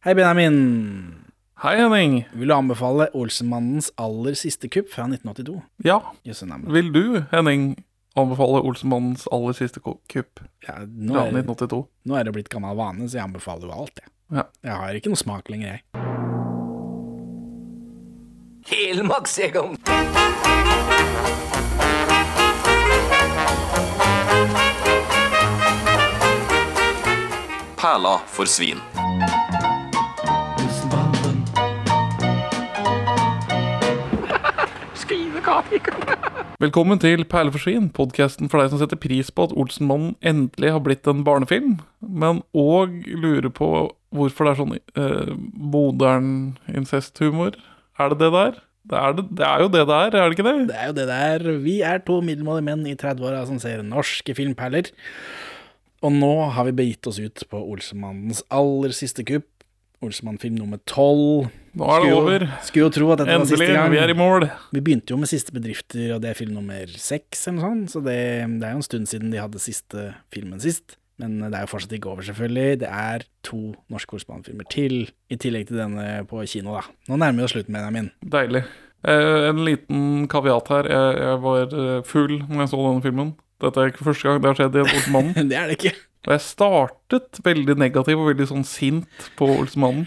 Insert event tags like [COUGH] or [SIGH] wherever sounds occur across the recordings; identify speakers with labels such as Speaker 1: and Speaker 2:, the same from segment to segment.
Speaker 1: Hei, Benjamin.
Speaker 2: Hei, Henning.
Speaker 1: Vil du anbefale Olsenmannens aller siste kupp fra 1982?
Speaker 2: Ja,
Speaker 1: Jøsse navn.
Speaker 2: vil du, Henning, anbefale Olsenmannens aller siste ko- kupp
Speaker 1: Ja, nå,
Speaker 2: fra
Speaker 1: er, det-
Speaker 2: 1982?
Speaker 1: nå er det blitt gammel vane, så jeg anbefaler jo alt, jeg.
Speaker 2: Ja.
Speaker 1: Jeg har ikke noe smak lenger, jeg.
Speaker 3: Helmarksjegeren.
Speaker 4: Perla for svin.
Speaker 2: Velkommen til Perleforsvin, podkasten for deg som setter pris på at Olsenmannen endelig har blitt en barnefilm, men òg lurer på hvorfor det er sånn eh, modern incesthumor. Er det det der? Det er, det, det er jo det det er, er det ikke det?
Speaker 1: Det er jo det der. Vi er to middelmådige menn i 30-åra som ser norske filmperler. Og nå har vi begitt oss ut på Olsenmannens aller siste kupp. Olsenmann-film nummer tolv.
Speaker 2: Nå er det over.
Speaker 1: Skulle jo tro at dette
Speaker 2: Endelig,
Speaker 1: var
Speaker 2: vi
Speaker 1: siste gang.
Speaker 2: er i mål.
Speaker 1: Vi begynte jo med Siste bedrifter, og det er film nummer seks, eller noe sånt. Så det, det er jo en stund siden de hadde siste filmen sist. Men det er jo fortsatt ikke over, selvfølgelig. Det er to norske Olsenmann-filmer til, i tillegg til denne på kino, da. Nå nærmer vi oss slutten, Benjamin.
Speaker 2: Deilig. Eh, en liten kaviat her. Jeg, jeg var eh, full når jeg så denne filmen. Dette er ikke første gang det har skjedd i Olsenmannen.
Speaker 1: Det er det ikke. [LAUGHS]
Speaker 2: Og jeg startet veldig negativ og veldig sånn sint på Olsenmannen.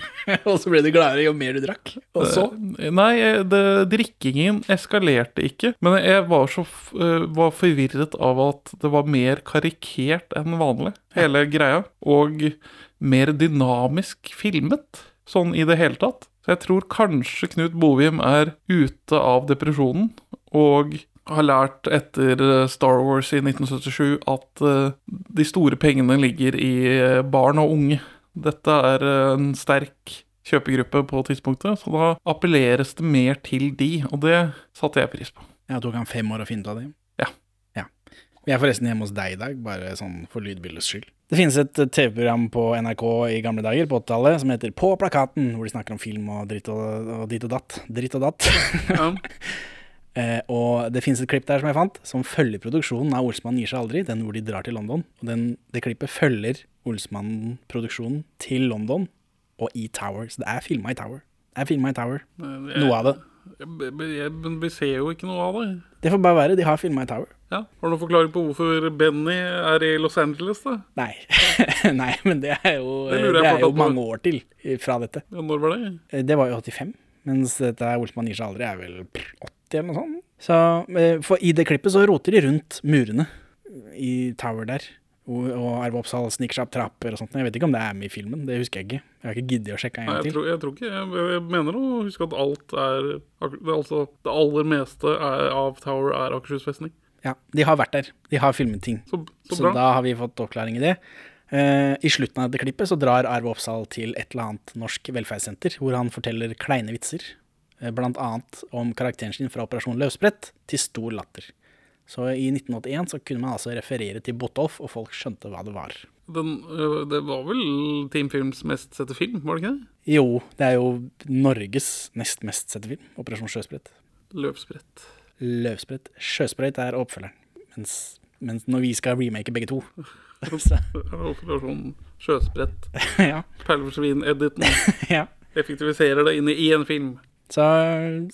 Speaker 1: Og så ble du gladere jo mer du drakk. Og så
Speaker 2: Eh, Nei, eh, det, drikkingen eskalerte ikke. Men jeg var så f eh, var forvirret av at det var mer karikert enn vanlig, hele greia. Og mer dynamisk filmet, sånn i det hele tatt. Så jeg tror kanskje Knut Bovim er ute av depresjonen og har lært etter eh, Star Wars i 1977 at eh, de store pengene ligger i eh, barn og unge. Dette er eh, en sterk kjøpegruppe på tidspunktet, så da appelleres det mer til de, og det satte jeg pris på.
Speaker 1: Ja, det tok han fem år å finne ut av det?
Speaker 2: Ja.
Speaker 1: ja. Vi er forresten hjemme hos deg i dag, bare sånn for lydbildets skyld. Det finnes et eh, TV-program på NRK i gamle dager, på 80-tallet, som heter På plakaten, hvor de snakker om film og dritt og, og dit og datt. Dritt og datt. [LAUGHS] eh, og det finnes et klipp der som jeg fant, som følger produksjonen av Olsmann gir seg aldri, den hvor de drar til London. Og den, det klippet følger Olsmann-produksjonen til London og i Tower, så det er filma i Tower. Det er filma i Tower, noe av det.
Speaker 2: Men vi ser jo ikke noe av det.
Speaker 1: Det får bare være, de har filma i Tower.
Speaker 2: Ja. Har du noen forklaring på hvorfor Benny er i Los Angeles, da?
Speaker 1: Nei. [LAUGHS] Nei, men det er jo,
Speaker 2: Det
Speaker 1: det
Speaker 2: lurer
Speaker 1: er
Speaker 2: jeg
Speaker 1: jo
Speaker 2: fortsatt på.
Speaker 1: mange år til fra dette.
Speaker 2: Ja, Når var det?
Speaker 1: Eh, Det var jo 85, mens dette er Olsmann gir seg aldri er vel pff, 80 eller noe sånt. Så, eh, for i det klippet så roter de rundt murene eh, i Tower der. Og og Arve Oppsal sniker seg opp trapper og sånt. Jeg vet ikke om det er med i filmen, det husker jeg ikke. Jeg har ikke giddet å sjekke en
Speaker 2: Nei,
Speaker 1: gang
Speaker 2: jeg
Speaker 1: til.
Speaker 2: tror, jeg tror ikke Jeg, jeg mener å huske at alt er ak- det er Altså, det aller meste er, av Tower er Akershus festning.
Speaker 1: Ja, de har vært der. De har filmet ting.
Speaker 2: Så, så
Speaker 1: Så
Speaker 2: bra.
Speaker 1: da har vi fått oppklaring i det. Eh, I slutten av dette klippet så drar Arve Oppsal til et eller annet norsk velferdssenter, hvor han forteller kleine vitser, eh, blant annet om karakteren sin fra Operasjon Løsbrett, til stor latter. Så i 1981 så kunne man altså referere til Botolf, og folk skjønte hva det var.
Speaker 2: Den, øh, det var vel Team Films mest sette film, var det ikke det?
Speaker 1: Jo, det er jo Norges nest mest sette film, Operasjon Sjøsprett.
Speaker 2: Løpsbrett.
Speaker 1: Løvsprett. Sjøsprøyt er oppfølgeren. Mens, mens når vi skal remake begge to [LAUGHS] så,
Speaker 2: Operasjon Sjøsbrett.
Speaker 1: ja, [LAUGHS]
Speaker 2: Perleforsvin-editen
Speaker 1: ja.
Speaker 2: effektiviserer det inn i én film.
Speaker 1: Så,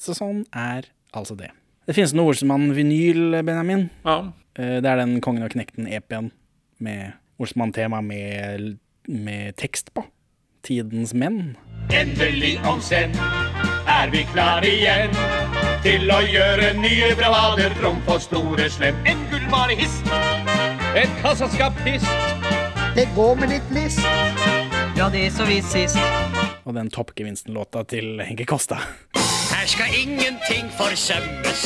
Speaker 1: så sånn er altså det. Det finnes noe Olsenmann-vinyl, Benjamin.
Speaker 2: Ja.
Speaker 1: Eh, Det er den Kongen og Knekten EP-en med Olsenmann-tema med, med tekst på. Tidens menn.
Speaker 5: Endelig om senn er vi klar igjen til å gjøre nye bravader from for store slem. En gullvarehist, en kassaskaptist.
Speaker 6: Det går med litt list.
Speaker 3: Ja, det er så vidt sist.
Speaker 1: Og den toppgevinsten-låta til Henke Kosta.
Speaker 5: Her skal ingenting forsømmes.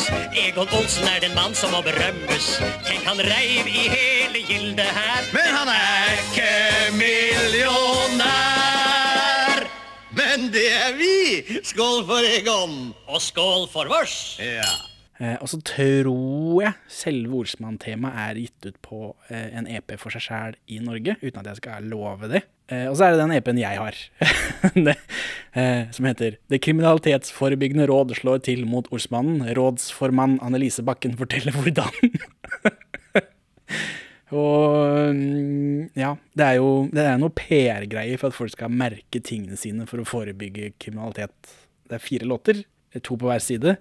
Speaker 5: Egon Olsen er den mann som må berømmes. Tenk, han reiv i hele gildet her. Men han er ikke millionær. Men det er vi. Skål for Egon. Og skål for vårs.
Speaker 1: Eh, og så tror jeg selve Olsenmann-temaet er gitt ut på eh, en EP for seg sjæl i Norge, uten at jeg skal love det. Eh, og så er det den EP-en jeg har, [LAUGHS] det, eh, som heter 'Det kriminalitetsforebyggende råd slår til mot Olsmannen'. Rådsformann Annelise Bakken forteller hvordan. [LAUGHS] Og mm, ja, det er jo det er noe PR-greier for at folk skal merke tingene sine for å forebygge kriminalitet. Det er fire låter, to på hver side.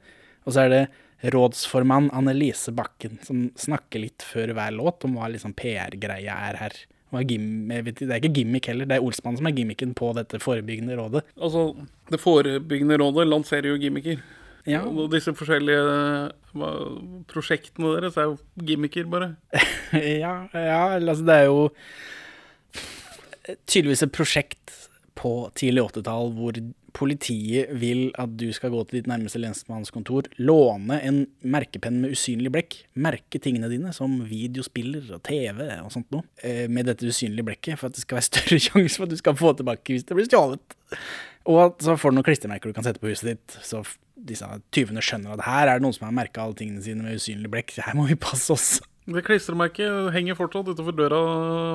Speaker 1: Og så er det rådsformann Annelise Bakken som snakker litt før hver låt om hva liksom PR-greia er her. Hva er gim- jeg vet, ikke, det er ikke gimmick heller, det er Olsmann som er gimmicken på dette forebyggende rådet.
Speaker 2: Altså, det forebyggende rådet lanserer jo gimmicker.
Speaker 1: Ja,
Speaker 2: Og disse forskjellige eh, hva- prosjektene deres er jo gimmicker, bare.
Speaker 1: [LAUGHS] ja, ja eller altså det er jo tydeligvis et prosjekt på tidlig 80-tall hvor politiet vil at du skal gå til ditt nærmeste lensmannskontor, låne en merkepenn med usynlig blekk, merke tingene dine som videospiller og TV og sånt noe, eh, med dette usynlige blekket for at det skal være større [LAUGHS] sjanse for at du skal få tilbake hvis det blir stjålet. Og at så får du noen klistremerker du kan sette på huset ditt, så f- disse tyvene skjønner at her er det noen som har merka alle tingene sine med usynlig blekk, her må vi passe oss.
Speaker 2: Det klistremerket henger fortsatt utenfor døra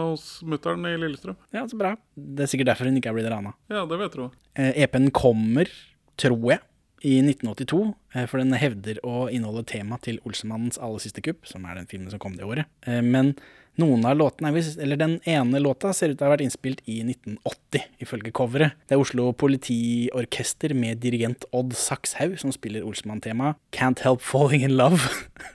Speaker 2: hos mutter'n i Lillestrøm.
Speaker 1: Ja, så bra. Det er sikkert derfor hun ikke er blitt rana.
Speaker 2: Ja, det vet du.
Speaker 1: Eh, EP-en kommer, tror jeg, i 1982, eh, for den hevder å inneholde tema til Olsenmannens aller siste kupp, som er den filmen som kom det året. Eh, men noen av låtene, er visst- eller den ene låta, ser ut til å ha vært innspilt i 1980, ifølge coveret. Det er Oslo Politiorkester med dirigent Odd Sakshaug som spiller Olsenmann-temaet Can't Help Falling In Love [LAUGHS]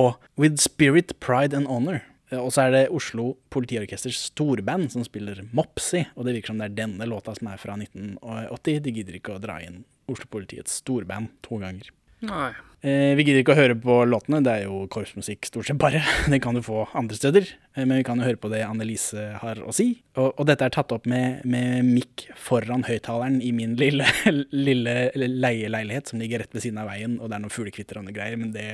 Speaker 1: og With Spirit, Pride and Honor. Eh, Og så er det Oslo Politiorkesters storband som spiller Mopsy, og det virker som det er denne låta som er fra 1980. De gidder ikke å dra inn Oslo Politiets storband to ganger.
Speaker 2: Nei.
Speaker 1: Eh, vi gidder ikke å høre på låtene, det er jo korpsmusikk stort sett bare. [LAUGHS] Det kan du få andre steder, eh, men vi kan jo høre på det Annelise har å si. Og, og dette er tatt opp med, med mikk foran høyttaleren i min lille, [LAUGHS] lille leieleilighet som ligger rett ved siden av veien, og det er noen fuglekvitter og noe greier, men det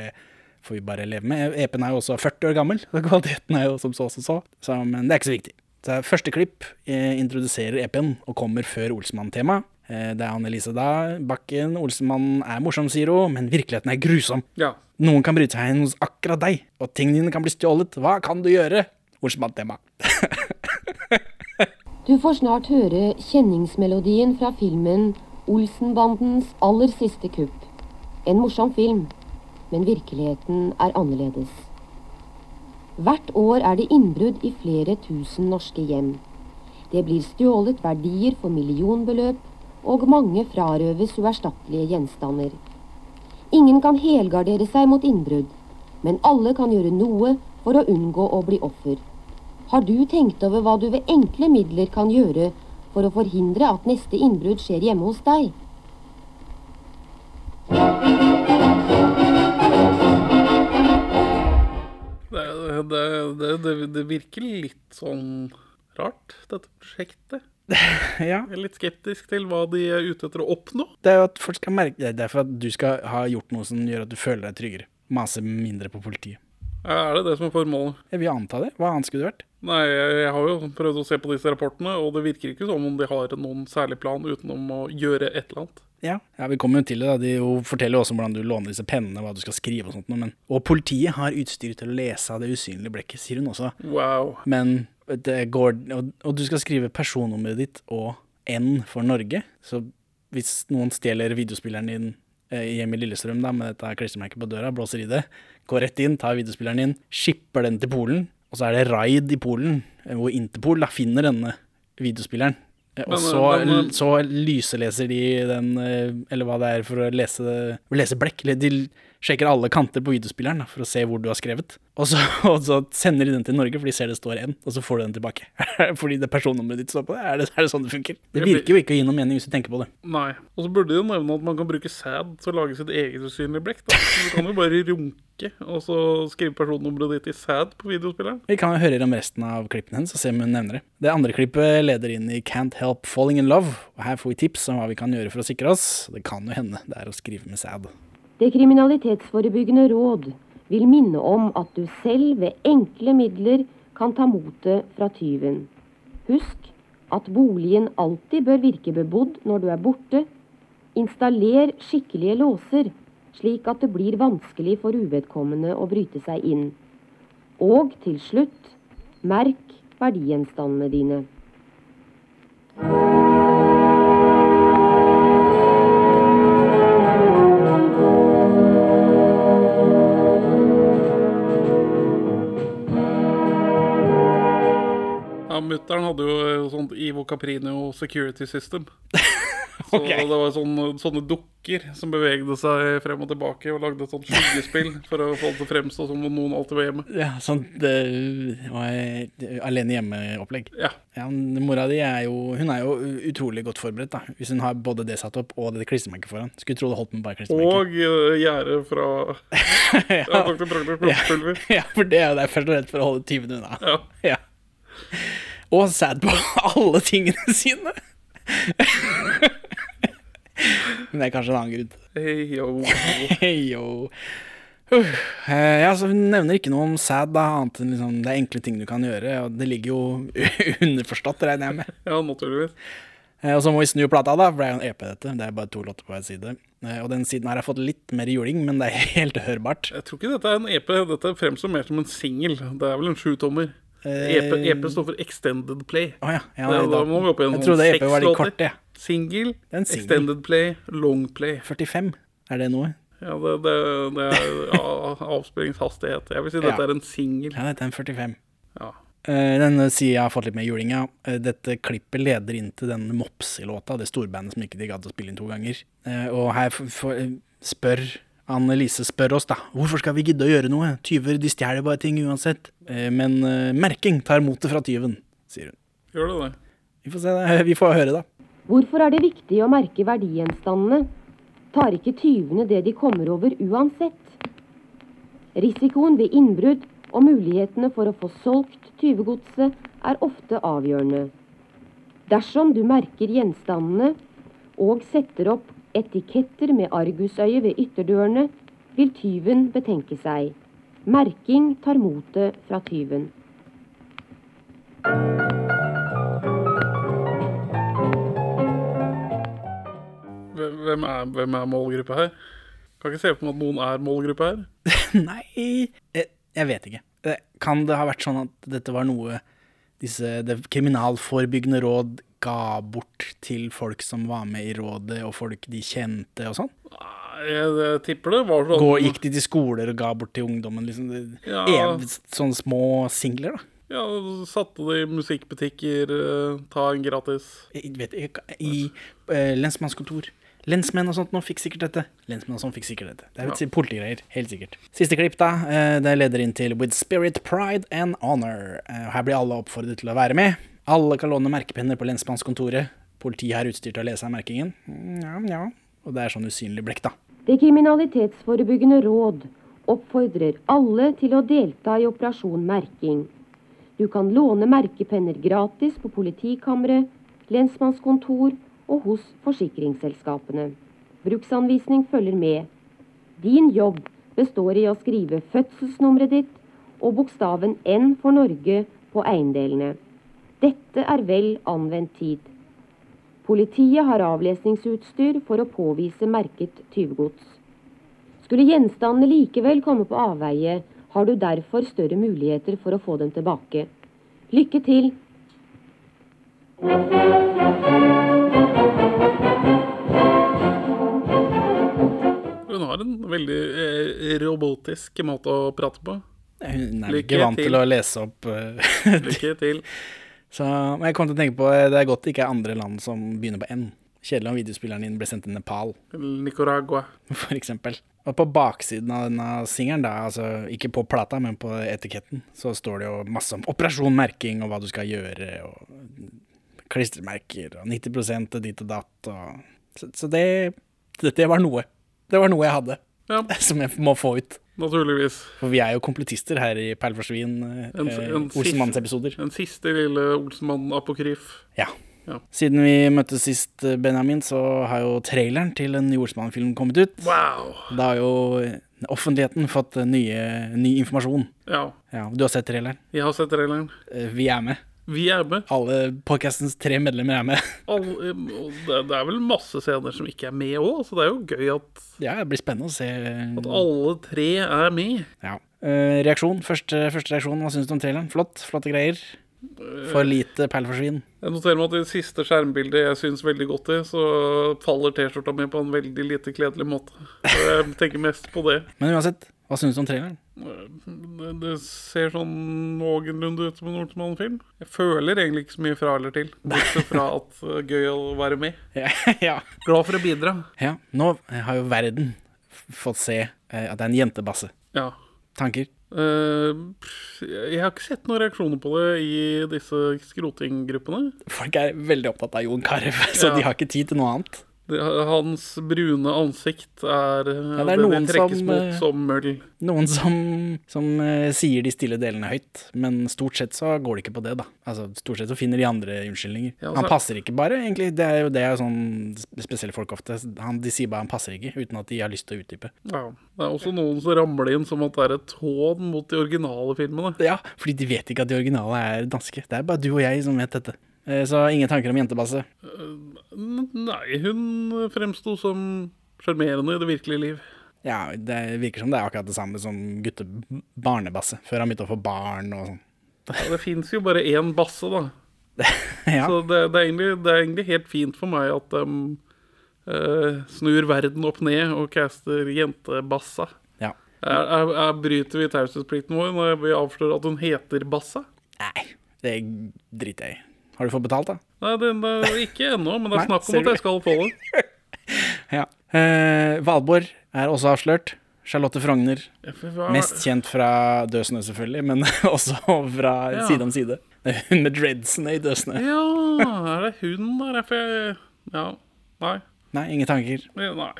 Speaker 1: får vi bare leve med. EP-en er jo også 40 år gammel, [LAUGHS] så kvaliteten er jo som så som så, så, men det er ikke så viktig. Så første klipp eh, introduserer EP-en og kommer før Olsenmann-temaet. Eh, det er Annelise da. Bakken, Olsenmann er morsom, sier hun, men virkeligheten er grusom.
Speaker 2: Ja.
Speaker 1: Noen kan bryte seg inn hos akkurat deg, og tingene dine kan bli stjålet. Hva kan du gjøre? Olsenmann-tema. [LAUGHS]
Speaker 4: Du får snart høre kjenningsmelodien fra filmen Olsenbandens aller siste kupp. En morsom film, men virkeligheten er annerledes. Hvert år er det innbrudd i flere tusen norske hjem. Det blir stjålet verdier for millionbeløp, og mange frarøves uerstattelige gjenstander. Ingen kan helgardere seg mot innbrudd, men alle kan gjøre noe for å unngå å bli offer. Har du tenkt over hva du ved enkle midler kan gjøre for å forhindre at neste innbrudd skjer hjemme hos deg?
Speaker 2: Det, det, det, det, det virker litt sånn rart, dette prosjektet.
Speaker 1: Ja.
Speaker 2: Jeg er litt skeptisk til hva de er ute etter å oppnå.
Speaker 1: Det er jo at folk skal merke Det er derfor at du skal ha gjort noe som gjør at du føler deg tryggere. Mase mindre på politiet.
Speaker 2: Er det det som er formålet?
Speaker 1: Jeg vil anta det. Hva annet skulle det vært?
Speaker 2: Nei, jeg jeg har jo prøvd å se på disse rapportene, og det virker ikke som om de har noen særlig plan utenom å gjøre et eller annet.
Speaker 1: Ja. ja, vi kommer jo til det. da. De jo forteller jo også om hvordan du låner disse pennene, hva du skal skrive og sånt. noe, Men, og politiet har utstyr til å lese av det usynlige blekket, sier hun også.
Speaker 2: Wow.
Speaker 1: Men det går Og, og du skal skrive personnummeret ditt og N for Norge. Så hvis noen stjeler videospilleren din eh, hjemme i Lillestrøm da, med dette klistremerket på døra, blåser i det, går rett inn, tar videospilleren din, skipper den til Polen, og så er det raid i Polen, eh, hvor Interpol da finner denne videospilleren. Eh, Og
Speaker 2: Men,
Speaker 1: så,
Speaker 2: men-
Speaker 1: så lyseleser de den, eh, eller hva det er for å lese, lese blekk. Eller de sjekker alle kanter på videospilleren da, for å se hvor du har skrevet. Og så, [LAUGHS] og så sender de den til Norge, for de ser det står N, og så får du den tilbake. [LAUGHS] Fordi det personnummeret ditt står på det. Er det, er det sånn det funker? Det virker jo ikke å gi noe mening hvis du tenker på det.
Speaker 2: Nei. Og så burde de jo nevne at man kan bruke sæd til å lage sitt eget usynlige blekk. da. Så Du kan jo bare runke og så skrive personnummeret ditt i sæd på videospilleren.
Speaker 1: Vi kan jo høre om resten av klippene hennes og se om hun nevner det. Det andre klippet leder inn i Can't Help Falling In Love, og her får vi tips om hva vi kan gjøre for å sikre oss. Det kan jo hende det er å skrive med sæd.
Speaker 4: Det kriminalitetsforebyggende råd vil minne om at du selv ved enkle midler kan ta motet fra tyven. Husk at boligen alltid bør virke bebodd når du er borte. Installer skikkelige låser, slik at det blir vanskelig for uvedkommende å bryte seg inn. Og til slutt, merk verdigjenstandene dine.
Speaker 2: eh, Caprino Security System. Så
Speaker 1: Ok.
Speaker 2: det var sånne, sånne dukker som bevegde seg frem og tilbake og lagde et sånt skyggespill for å få det til å fremstå som om noen alltid var hjemme.
Speaker 1: Ja, sånn det var et alene hjemme-opplegg.
Speaker 2: Ja.
Speaker 1: Ja, men Mora di er jo, hun er jo utrolig godt forberedt, da. Hvis hun har både det satt opp og det klistremerket foran. Skulle tro det holdt med bare klistremerket.
Speaker 2: Og eh, gjerdet fra
Speaker 1: [LAUGHS]
Speaker 2: ja, Dr. Proktor Plomspulver.
Speaker 1: ja, for det er jo der først og fremst for å holde tyvene unna.
Speaker 2: Ja.
Speaker 1: Ja. Og sad på [LAUGHS] alle tingene sine! men det er kanskje en annen grunn.
Speaker 2: Hey, yo.
Speaker 1: Hei, yo. Uh, eh, ja, så Hun nevner ikke noe om sad, da, annet enn liksom, det er enkle ting du kan gjøre. Og det ligger jo [LAUGHS] underforstått, regner jeg med.
Speaker 2: Ja, naturligvis.
Speaker 1: Eh, Og så må vi snu plata, da, for det er jo en EP, dette. Det er bare to låter på hver side. Eh, Og den siden her har fått litt mer juling, men det er [LAUGHS] helt hørbart.
Speaker 2: Jeg tror ikke dette er en EP. Dette fremstår mer som en singel. Det er vel en sjutommer. E
Speaker 1: Eh,
Speaker 2: EP, EP står for Extended Play.
Speaker 1: Å ja. ja
Speaker 2: da,
Speaker 1: nei,
Speaker 2: da må vi opp i en
Speaker 1: jeg
Speaker 2: sånn
Speaker 1: trodde EP
Speaker 2: seks
Speaker 1: var litt
Speaker 2: låter.
Speaker 1: kort, jeg.
Speaker 2: Singel,
Speaker 1: er en singel.
Speaker 2: Extended Play, Long Play.
Speaker 1: 45, er det noe?
Speaker 2: Ja, det, det, det er
Speaker 1: [LAUGHS]
Speaker 2: ja, avspillingshastighet. Jeg vil si dette
Speaker 1: Ja.
Speaker 2: er en singel.
Speaker 1: Ja, dette er en 45.
Speaker 2: Ja.
Speaker 1: Eh, Denne sida har fått litt mer juling, ja. Eh, Dette klippet leder inn til den Mopsi-låta, det storbandet som ikke de gadd å spille inn to ganger. Eh, Og her f- f- spør Anne-Lise spør oss, da. Hvorfor skal vi gidde å gjøre noe? Tyver, de stjeler bare ting uansett. Eh, Men eh, merking tar motet fra tyven, sier hun.
Speaker 2: Gjør det det?
Speaker 1: Vi får se, da. Vi får høre, da.
Speaker 4: Hvorfor er det viktig å merke verdigjenstandene? Tar ikke tyvene det de kommer over uansett? Risikoen ved innbrudd og mulighetene for å få solgt tyvegodset er ofte avgjørende. Dersom du merker gjenstandene og setter opp etiketter med argusøye ved ytterdørene, vil tyven betenke seg. Merking tar motet fra tyven.
Speaker 2: Hvem hvem er, hvem er målgruppa her? Kan ikke se for meg at noen er målgruppa her.
Speaker 1: Nei jeg, jeg vet ikke. Eh, Kan det ha vært sånn at dette var noe disse, det kriminalforebyggende råd ga bort til folk som var med i rådet, og folk de kjente og sånn?
Speaker 2: Nei, Jeg, jeg tipper det var sånn
Speaker 1: Gå, gikk de til skoler og ga bort til ungdommen? Liksom, det,
Speaker 2: Ja.
Speaker 1: ev, sånne små singler, da?
Speaker 2: Ja, Satte det i musikkbutikker, eh, ta en gratis.
Speaker 1: Jeg vet ikke, I eh, lensmannskontor. Lensmenn og sånt nå fikk sikkert dette. Lensmenn og sånt fikk sikkert dette. Det er ja. politigreier, helt sikkert. Siste klipp, da. eh, det leder inn til With spirit, pride and honor. Eh, her blir alle oppfordret til å være med. Alle kan låne merkepenner på lensmannskontoret. Politiet er utstyrt til å lese av merkingen. Mm, Ja, ja. Og det er sånn usynlig blekk, da.
Speaker 4: Det kriminalitetsforebyggende råd oppfordrer alle til å delta i Operasjon merking. Du kan låne merkepenner gratis på politikammeret, lensmannskontor og hos forsikringsselskapene. Bruksanvisning følger med. Din jobb består i å skrive fødselsnummeret ditt og bokstaven N for Norge på eiendelene. Dette er vel anvendt tid. Politiet har avlesningsutstyr for å påvise merket tyvegods. Skulle gjenstandene likevel komme på avveie, har du derfor større muligheter for å få dem tilbake. Lykke til!
Speaker 2: Hun har en veldig eh, robotisk måte å prate på.
Speaker 1: Hun er vel
Speaker 2: Lykke
Speaker 1: ikke vant til
Speaker 2: til.
Speaker 1: å lese opp eh,
Speaker 2: Lykke til.
Speaker 1: [LAUGHS] Så, men jeg kom til å tenke på eh, det er godt det ikke er andre land som begynner på N. Kjedelig om videospilleren din ble sendt til Nepal.
Speaker 2: Nicaragua.
Speaker 1: [LAUGHS] for eksempel. Og på baksiden av denne singelen, da, altså ikke på plata, men på etiketten, så står det jo masse om operasjon, merking og hva du skal gjøre, og klistremerker, og 90 og ditt og datt, og Så, så det, det, det var noe. Det var noe jeg hadde, [LAUGHS]
Speaker 2: Ja,
Speaker 1: som jeg må få ut.
Speaker 2: naturligvis.
Speaker 1: For vi er jo kompletister her i Perlforsvin, eh,
Speaker 2: En- en siste-
Speaker 1: Olsenmanns-episoder.
Speaker 2: Den siste lille Olsenmann-apokryf.
Speaker 1: Ja.
Speaker 2: Ja.
Speaker 1: Siden vi møttes sist, eh, Benjamin, så har jo traileren til en Jordsmann-film kommet ut.
Speaker 2: Wow!
Speaker 1: Da har jo offentligheten fått eh, nye, ny informasjon.
Speaker 2: Ja,
Speaker 1: Ja, Du har sett traileren.
Speaker 2: jeg har sett traileren.
Speaker 1: Eh, Vi er med.
Speaker 2: Vi er med.
Speaker 1: Alle podcastens tre medlemmer er med.
Speaker 2: Alle, og det, det er vel masse scener som ikke er med òg, så det er jo gøy at,
Speaker 1: [LAUGHS] Ja, Det blir spennende å se. eh,
Speaker 2: at alle tre er med.
Speaker 1: Ja. Eh, Reaksjon. Første, første reaksjon. Hva syns du om traileren? Flott. Flotte greier. For lite perleforsvin.
Speaker 2: Jeg noterer meg at i siste skjermbildet jeg syns veldig godt i, så faller T-skjorta mi på en veldig lite kledelig måte. Så jeg tenker mest på det.
Speaker 1: Men uansett, hva syns du om traileren?
Speaker 2: Det, det ser sånn noenlunde ut som en Olsenmann-film. Jeg føler egentlig ikke så mye fra eller til, bortsett fra at det er gøy å være med.
Speaker 1: [LAUGHS] Ja, ja.
Speaker 2: Glad for å bidra.
Speaker 1: ja. Nå har jo verden f- fått se eh, at det er en jentebasse.
Speaker 2: Ja.
Speaker 1: Tanker?
Speaker 2: Eh, pff, jeg har ikke sett noen reaksjoner på det i disse skrotinggruppene.
Speaker 1: Folk er veldig opptatt av Jon Carew, [LAUGHS] så
Speaker 2: Ja.
Speaker 1: de har ikke tid til noe annet.
Speaker 2: Det, hans brune ansikt er, eh,
Speaker 1: det er
Speaker 2: det,
Speaker 1: noen
Speaker 2: det trekkes
Speaker 1: som, eh,
Speaker 2: mot som møll.
Speaker 1: Noen som, som eh, sier de stille delene høyt, men stort sett så går det ikke på det, da. Altså, stort sett så finner de andre unnskyldninger.
Speaker 2: Ja, og
Speaker 1: han
Speaker 2: så-
Speaker 1: passer ikke bare, egentlig. Det er jo det er jo sånn sp- spesielle folk ofte. Han, de sier bare han passer ikke, uten at de har lyst til å utdype.
Speaker 2: Ja. Det er også noen som ramler inn som at det er et hån mot de originale filmene.
Speaker 1: Ja, fordi de vet ikke at de originale er danske. Det er bare du og jeg som vet dette. Eh, Så ingen tanker om jentebasse.
Speaker 2: N- Nei, hun fremsto som sjarmerende i det virkelige liv.
Speaker 1: Ja, det virker som det er akkurat det samme som gutte-barnebasse, før han begynte å få barn og sånn. [LAUGHS]
Speaker 2: Ja, det fins jo bare én basse, da.
Speaker 1: Ja.
Speaker 2: Så det, det, er egentlig, det er egentlig helt fint for meg at de eh, snur verden opp ned og caster jentebassa.
Speaker 1: ja.
Speaker 2: Er, er, er, bryter vi taushetsplikten vår når vi avslører at hun heter Bassa?
Speaker 1: Nei, det driter jeg i. Har du fått betalt, da?
Speaker 2: Nei, det, det er ikke ennå, men det
Speaker 1: Nei,
Speaker 2: er snakk
Speaker 1: ser
Speaker 2: om
Speaker 1: du?
Speaker 2: at jeg skal få det.
Speaker 1: [LAUGHS] Ja. Eh, Valborg er også avslørt. Charlotte Frogner,
Speaker 2: Hva-
Speaker 1: mest kjent fra Dødsnø selvfølgelig, men [LAUGHS] også fra
Speaker 2: Ja.
Speaker 1: Side om side. Det er Hun med dreadsene i Dødsnø.
Speaker 2: Ja, er det hun der? Derfor jeg Ja. Nei.
Speaker 1: Nei, ingen tanker.
Speaker 2: Nei.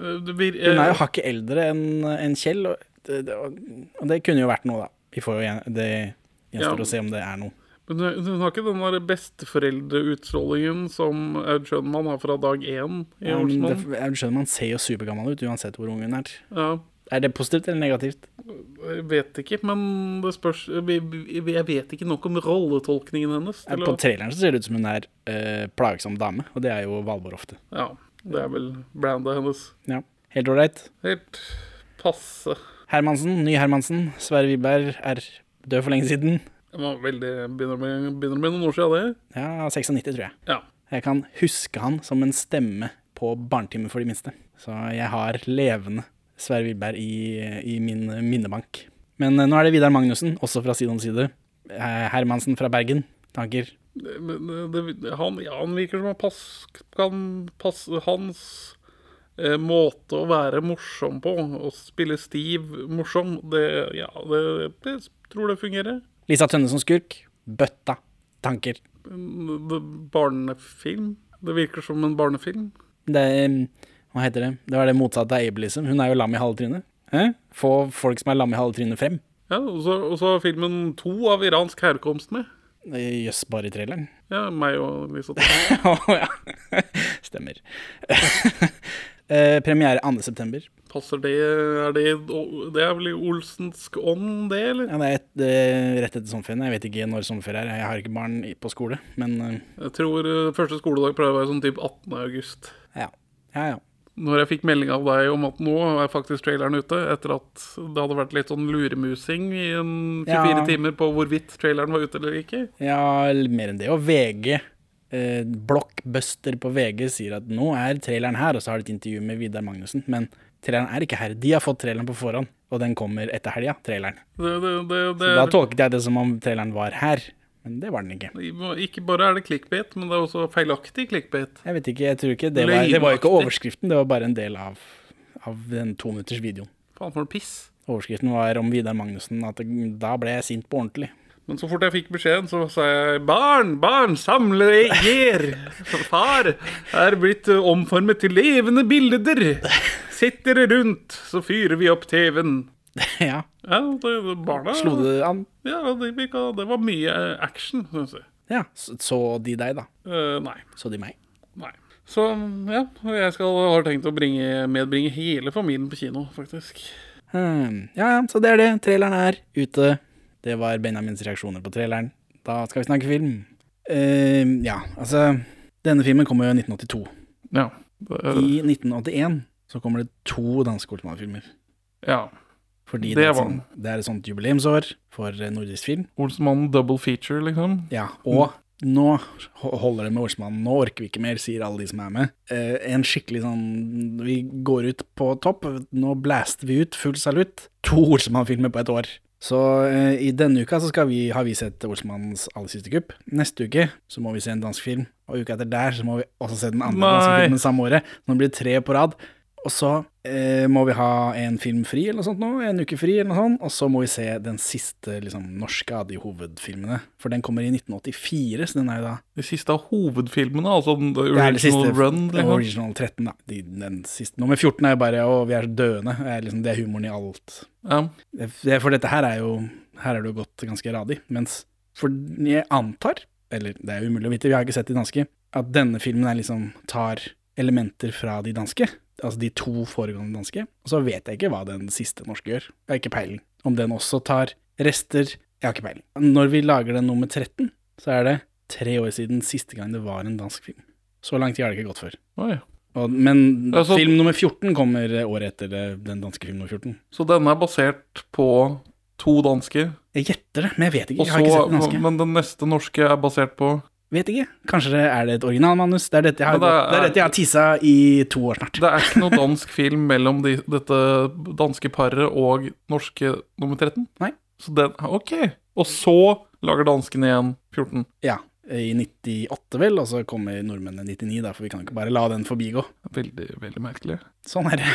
Speaker 2: Eh, Det blir,
Speaker 1: Hun er
Speaker 2: eh,
Speaker 1: jo hakket eldre enn enn Kjell, og det, det, og det kunne jo vært noe, da. Vi får jo gjen- Det gjenstår
Speaker 2: Ja.
Speaker 1: å se om det er noe.
Speaker 2: Men hun hun har ikke den der besteforeldreutstrålingen som Aud Schønmann har fra dag én i
Speaker 1: Ja, men det,
Speaker 2: Olsenmann.
Speaker 1: jeg skjønner Man ser jo supergammel ut uansett hvor ung hun er.
Speaker 2: Ja,
Speaker 1: Er det positivt eller negativt? Eh,
Speaker 2: jeg vet ikke, men det spørs vi- vi- Jeg vet ikke nok om rolletolkningen hennes. til
Speaker 1: På
Speaker 2: å-
Speaker 1: traileren så ser det ut som hun er eh, plagsom dame, og det er jo Valborg ofte.
Speaker 2: Ja, det er vel brandet hennes.
Speaker 1: Ja. Helt ålreit.
Speaker 2: Helt passe.
Speaker 1: Hermansen, ny Hermansen. Sverre Wiberg er død for lenge siden.
Speaker 2: Det var veldig, begynner å bli- begynner å bli noen år siden, det.
Speaker 1: Ja, 96, tror jeg.
Speaker 2: Ja.
Speaker 1: Jeg kan huske han som en stemme på Barnetimen for de minste. Så jeg har levende Sverre Wiberg i, i min minnebank. Men eh, nå er det Vidar Magnussen, også fra Side om side. Eh, Hermansen fra Bergen. Tanker?
Speaker 2: Men eh, det, det, han, ja, han virker som han pass, kan passe Hans eh, måte å være morsom på, å spille stiv morsom, det, ja, det, det tror det fungerer.
Speaker 1: Lisa Tønne som skurk. Bøtta. Tanker.
Speaker 2: Det, barnefilm. Det virker som en barnefilm.
Speaker 1: Det er, Hva heter det? Det var det motsatte av ableism. Hun er jo lam i halve trynet. Eh? Få folk som er lam i halve trynet, frem.
Speaker 2: Ja, og så, og så har filmen to av iransk herkomst med.
Speaker 1: Eh, Jøss, bare i traileren.
Speaker 2: Ja, meg og
Speaker 1: [LAUGHS]
Speaker 2: Lisa.
Speaker 1: Å ja. Stemmer. [LAUGHS] eh, premiere 2. september.
Speaker 2: Passer det er det, det er vel i Olsensk ånd, det, eller?
Speaker 1: Ja, det er et, eh, rett etter sommerferien. Jeg vet ikke når sommerferie er. Jeg har ikke barn i- på skole, men eh,
Speaker 2: Jeg tror eh, første skoledag pleier å være sånn typ 18. august.
Speaker 1: ja. Ja, ja.
Speaker 2: Når jeg fikk melding av deg om at nå er faktisk traileren ute, etter at det hadde vært litt sånn luremusing i en 24
Speaker 1: Ja.
Speaker 2: timer på hvorvidt traileren var ute eller ikke
Speaker 1: Ja, l- mer enn det. Og VG, eh, blockbuster på VG, sier at nå er traileren her, og så har de et intervju med Vidar Magnussen. Men traileren er ikke her. De har fått traileren på forhånd, og den kommer etter helga, traileren.
Speaker 2: det, det, det, det,
Speaker 1: Da tolket jeg det som om traileren var her, men det var den ikke.
Speaker 2: Ikke bare er det clickbait, men det er også feilaktig clickbait.
Speaker 1: Jeg vet ikke, jeg tror ikke Det var, det var jo ikke
Speaker 2: Løgnaktig.
Speaker 1: overskriften, det var bare en del av, av den to minutters videoen.
Speaker 2: Faen for noe piss.
Speaker 1: Overskriften var om Vidar Magnussen, at det, da ble jeg sint på ordentlig. [LAUGHS]
Speaker 2: Men så fort jeg fikk beskjeden, så sa jeg 'Barn, barn, samle jer! [LAUGHS] Far er blitt eh, omformet til levende bilder! Sett dere rundt, så fyrer vi opp TV-en'.
Speaker 1: ja,
Speaker 2: Ja, det, det, barna
Speaker 1: Slo det an?
Speaker 2: Ja, det, det var mye eh, action, synes jeg.
Speaker 1: Ja. Så, så de deg, da?
Speaker 2: Eh, nei.
Speaker 1: Så de meg?
Speaker 2: Nei. Så ja, og jeg skal, har tenkt å bringe, medbringe hele familien på kino, faktisk.
Speaker 1: Hmm. Ja, ja, så det er det. Traileren er ute. Det var Benjamins reaksjoner på traileren. Da skal vi snakke film. Eh, ja, altså Denne filmen kommer jo i 1982.
Speaker 2: Ja. Det,
Speaker 1: I 1981 så kommer det to danske Olsenmann-filmer.
Speaker 2: ja.
Speaker 1: Fordi
Speaker 2: Det
Speaker 1: det, er et
Speaker 2: var
Speaker 1: sånt, det er et sånt jubileumsår for eh, nordisk film.
Speaker 2: Olsenmannen double feature, liksom.
Speaker 1: Ja, Og Nå holder det med ordsmannen, nå orker vi ikke mer, sier alle de som er med. Eh, en skikkelig sånn Vi går ut på topp, nå blaster vi ut, full salutt. To ordsmannfilmer på et år. Så eh, i denne uka så skal vi, har vi sett Olsmannens aller siste kupp. Neste uke så må vi se en dansk film, og uka etter der så må vi også se den andre
Speaker 2: Nei.
Speaker 1: danske filmen samme året. Så nå blir det tre på rad. Og så eh, må vi ha en film fri eller noe sånt nå, en uke fri eller noe sånt, og så må vi se den siste liksom, norske av de hovedfilmene. For den kommer i 1984, så den er jo da
Speaker 2: De siste av hovedfilmene, altså den- the
Speaker 1: det er
Speaker 2: original
Speaker 1: det siste,
Speaker 2: run. liksom.
Speaker 1: Original 13, da. De, den siste. Nummer 14 er jo bare 'Å, vi er døende'. Det er, liksom, det er humoren i alt.
Speaker 2: Ja.
Speaker 1: Det, det- for dette her er jo Her er det jo gått ganske radig. Mens For jeg antar, eller det er jo umulig å vite, vi har ikke sett de danske, at denne filmen er liksom tar elementer fra de danske. Altså de to foregående danske. Og så vet jeg ikke hva den siste norske gjør. Jeg har ikke peiling. Om den også tar rester Jeg har ikke peiling. Når vi lager den nummer 13, så er det tre år siden siste gang det var en dansk film. Så lang tid har det ikke gått før.
Speaker 2: Oi.
Speaker 1: Og, men
Speaker 2: Altså-
Speaker 1: film nummer 14 kommer året etter det- den danske film nummer 14.
Speaker 2: Så denne er basert på to danske,
Speaker 1: Jeg gjetter det, men jeg vet ikke.
Speaker 2: og
Speaker 1: Jeg har ikke sett den
Speaker 2: så,
Speaker 1: danske.
Speaker 2: men den neste norske er basert på
Speaker 1: Vet ikke. Kanskje det er det et originalmanus? Det er dette jeg har,
Speaker 2: Men det er-
Speaker 1: det er dette jeg har tissa i to år snart.
Speaker 2: Det er ikke noe dansk film mellom de, dette danske paret og norske nummer 13?
Speaker 1: Nei.
Speaker 2: Så den, ok. Og så lager danskene igjen 14.
Speaker 1: Ja, I 98, vel, og så kommer nordmennene i 99, da, for vi kan ikke bare la den forbigå.
Speaker 2: Veldig, veldig merkelig.
Speaker 1: Sånn er det.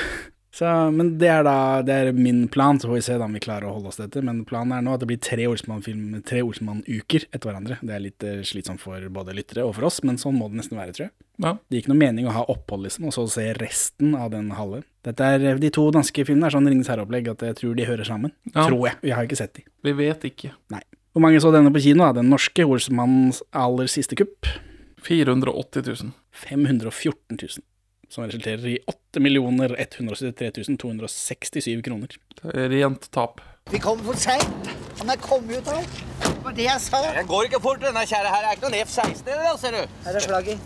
Speaker 1: Så, men det er da det er min plan, så får vi se da om vi klarer å holde oss til dette. Men planen er nå at det blir tre Olsmann-film- tre Olsmann-uker etter hverandre. Det er litt eh, slitsomt for både lyttere og for oss, men sånn må det nesten være, tror jeg.
Speaker 2: Ja.
Speaker 1: Det gir ikke noe mening å ha opphold, liksom, og så se resten av den halve. Dette er, eh, De to danske filmene er sånn Ringenes herre-opplegg at jeg tror de hører sammen.
Speaker 2: Ja.
Speaker 1: Tror jeg. Vi har ikke sett de.
Speaker 2: Vi vet ikke.
Speaker 1: Hvor mange så denne på kino? da? Den norske Olsmannens aller siste kupp.
Speaker 2: 480 000.
Speaker 1: 514 000. Som resulterer i 8 173 267 kroner.
Speaker 2: Det er Rent tap.
Speaker 6: Vi kom for seint. Han er kommet ut her. Det var det jeg sa.
Speaker 3: Den går ikke fort, denne kjære her. Det er ikke noen F-16 i den, ser du.
Speaker 6: Her er flagget.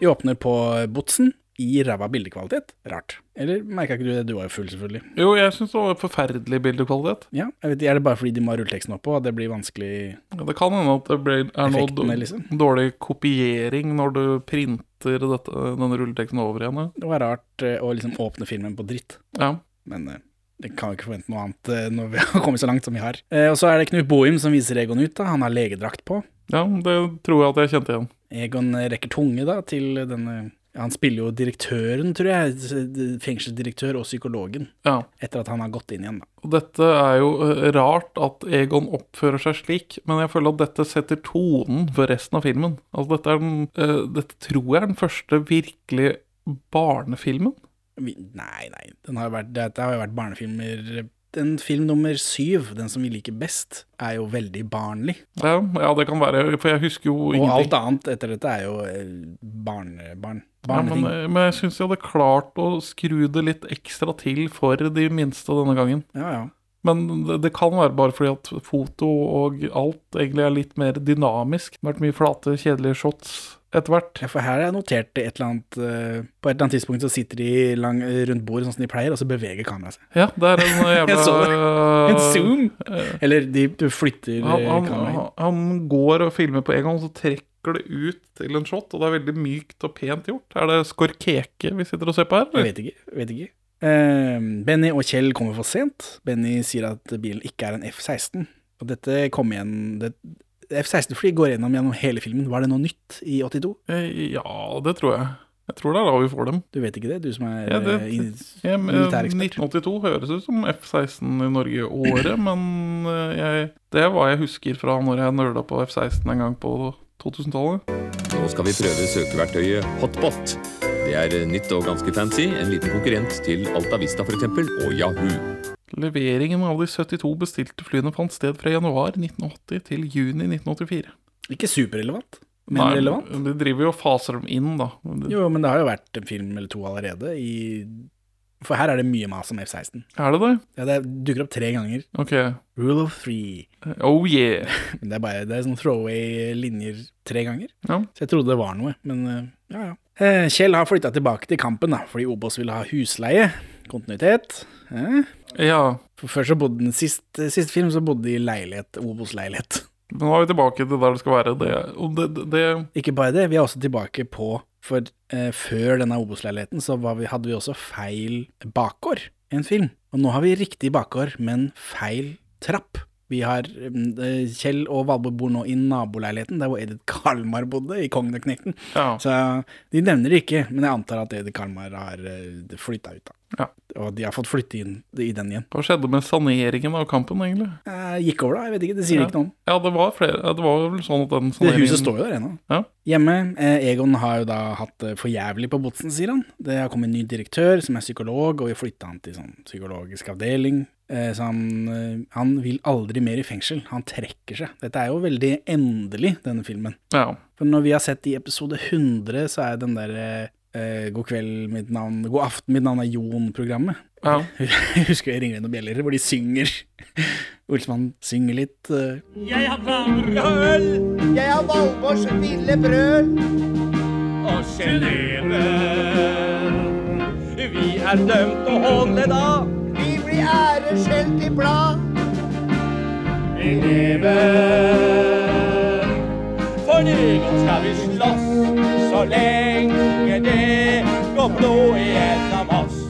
Speaker 1: Vi åpner på Botsen i ræva bildekvalitet. Rart. Eller merka ikke du det? Du var jo full, selvfølgelig.
Speaker 2: Jo, jeg syns det var forferdelig bildekvalitet.
Speaker 1: Ja, jeg vet, ikke, Er det bare fordi de må ha rulleteksten oppå, at det blir vanskelig
Speaker 2: Ja, Det kan hende at det ble, er noe
Speaker 1: Effektene,
Speaker 2: dår-
Speaker 1: liksom.
Speaker 2: dårlig kopiering når du printer dette, denne rulleteksten over igjen. ja.
Speaker 1: Det var rart eh, å liksom åpne filmen på dritt.
Speaker 2: Ja.
Speaker 1: Men eh, det kan jo ikke forvente noe annet eh, når vi [LAUGHS] har kommet så langt som vi har. Eh, Og så er det Knut Bohim som viser Egon ut. da. Han har legedrakt på.
Speaker 2: ja, det tror jeg at jeg kjente igjen.
Speaker 1: Egon eh, rekker tunge da til denne Han spiller jo direktøren, tror jeg. Fengselsdirektør og psykologen.
Speaker 2: Ja.
Speaker 1: Etter at han har gått inn igjen, da.
Speaker 2: Og dette er jo eh, rart at Egon oppfører seg slik, men jeg føler at dette setter tonen for resten av filmen. Altså, dette, er den, eh, dette tror jeg er den første virkelig barnefilmen.
Speaker 1: Vi, nei, nei. Den har jo vært, dette har jo vært barnefilmer Den film nummer syv, den som vi liker best, er jo veldig barnlig.
Speaker 2: Ja, ja, det kan være, for jeg husker jo
Speaker 1: Og alt
Speaker 2: ingenting.
Speaker 1: annet etter dette er jo eh, barnebarn.
Speaker 2: Ja, men,
Speaker 1: Barneting.
Speaker 2: eh, men jeg syns jeg hadde klart å skru det litt ekstra til for de minste denne gangen.
Speaker 1: Ja, ja.
Speaker 2: Men det, det kan være bare fordi at foto og alt egentlig er litt mer dynamisk. Det har vært mye flate, kjedelige shots etter hvert.
Speaker 1: Ja, for her har jeg notert det et eller annet eh, På et eller annet tidspunkt så sitter de lang, rundt bordet sånn som de pleier, og så beveger kameraet seg.
Speaker 2: Ja, det er en
Speaker 1: [LAUGHS]
Speaker 2: jævla
Speaker 1: Jeg så det. En zoom!
Speaker 2: eh,
Speaker 1: Eller de flytter eh,
Speaker 2: Han, han,
Speaker 1: kameraet.
Speaker 2: han- han går og filmer på en gang, og så trekker det ut til en shot. Og det er veldig mykt og pent gjort. Er det skorkeke vi sitter og ser på her?
Speaker 1: Jeg
Speaker 2: eller?
Speaker 1: vet ikke. jeg vet ikke. Eh, Benny og Kjell kommer for sent. Benny sier at bilen ikke er en F-16. Og dette kom igjen det, F-16-fly går gjennom gjennom hele filmen. Var det noe nytt i 82?
Speaker 2: Eh, Ja, det tror jeg. Jeg tror det er da vi får dem.
Speaker 1: Du vet ikke det, du som er
Speaker 2: Ja, det-
Speaker 1: eh, i-
Speaker 2: Ja, men, eh,
Speaker 1: militærekspert.
Speaker 2: 1982 høres ut som F-16 i
Speaker 1: [LAUGHS]
Speaker 2: Norge-året, men eh, jeg, det er hva jeg husker fra når jeg nøla på F-16 en gang på 2000-tallet.
Speaker 7: Nå skal vi prøve søkeverktøyet Hotbot. Det er nytt og ganske fancy. En liten konkurrent til Altavista f.eks. og Yahoo.
Speaker 2: Leveringen av de 72 bestilte flyene fant sted fra januar 1980 til juni 1984.
Speaker 1: Ikke superrelevant, men
Speaker 2: Nei,
Speaker 1: relevant.
Speaker 2: De driver jo og faser dem inn, da.
Speaker 1: Jo, men det har jo vært en film eller to allerede. I, for her er det mye mas om F-16.
Speaker 2: Er det det?
Speaker 1: Ja, det dukker opp tre ganger.
Speaker 2: Ok.
Speaker 1: Rule of three.
Speaker 2: Oh yeah.
Speaker 1: Men det er bare det er sånn throwaway-linjer tre ganger.
Speaker 2: Ja.
Speaker 1: Så jeg trodde det var noe, men eh, ja, ja. Eh, Kjell har flytta tilbake til kampen da, fordi Obos ville ha husleie. Kontinuitet. Eh?
Speaker 2: Ja,
Speaker 1: For før så bodde den sist, sist film så bodde de i leilighet, Obos-leilighet.
Speaker 2: men nå er vi tilbake til der det skal være. Det, og det, det, det
Speaker 1: Ikke bare det, vi er også tilbake på For eh, før denne Obos-leiligheten så var vi, hadde vi også feil bakgård i en film. Og nå har vi riktig bakgård, men feil trapp. Vi har mm, eh, Kjell og Valborg bor nå i naboleiligheten, der hvor Edith Kalmar bodde, i Kongneknekten.
Speaker 2: Ja.
Speaker 1: Så de nevner det ikke, men jeg antar at Edith Kalmar har flytta ut, da.
Speaker 2: Ja.
Speaker 1: Og de har fått flytte inn i den igjen.
Speaker 2: Hva skjedde med saneringen av kampen, egentlig?
Speaker 1: Eh, gikk over, da? Jeg vet ikke, det sier ikke noe om.
Speaker 2: Ja, det var flere ja, Det var vel sånn at den
Speaker 1: Det
Speaker 2: saneringen
Speaker 1: huset står jo der ennå.
Speaker 2: Ja.
Speaker 1: Hjemme. Eh, Egon har jo da hatt det for jævlig på Botsen, sier han. Det har kommet en ny direktør som er psykolog, og vi flytta han til sånn psykologisk avdeling. Eh, så han, eh, han vil aldri mer i fengsel. Han trekker seg. Dette er jo veldig endelig, denne filmen.
Speaker 2: Ja.
Speaker 1: For når vi har sett i episode 100, så er den derre eh, God kveld, mitt navn God aften, mitt navn er Jon-programmet. [LAUGHS]
Speaker 2: ja.
Speaker 1: Jeg husker jeg ringer noen bjeller hvor de synger. [LAUGHS] Olsmann synger litt. eh,
Speaker 5: Jeg har planer Jeg har øl
Speaker 6: Jeg har Valborgs ville brød.
Speaker 5: og gelene Vi er dømt å holde da
Speaker 6: Vi blir æreskjelt i blad.
Speaker 5: Vi lever For Egon skal vi slåss Så lenge det går blod igjennom oss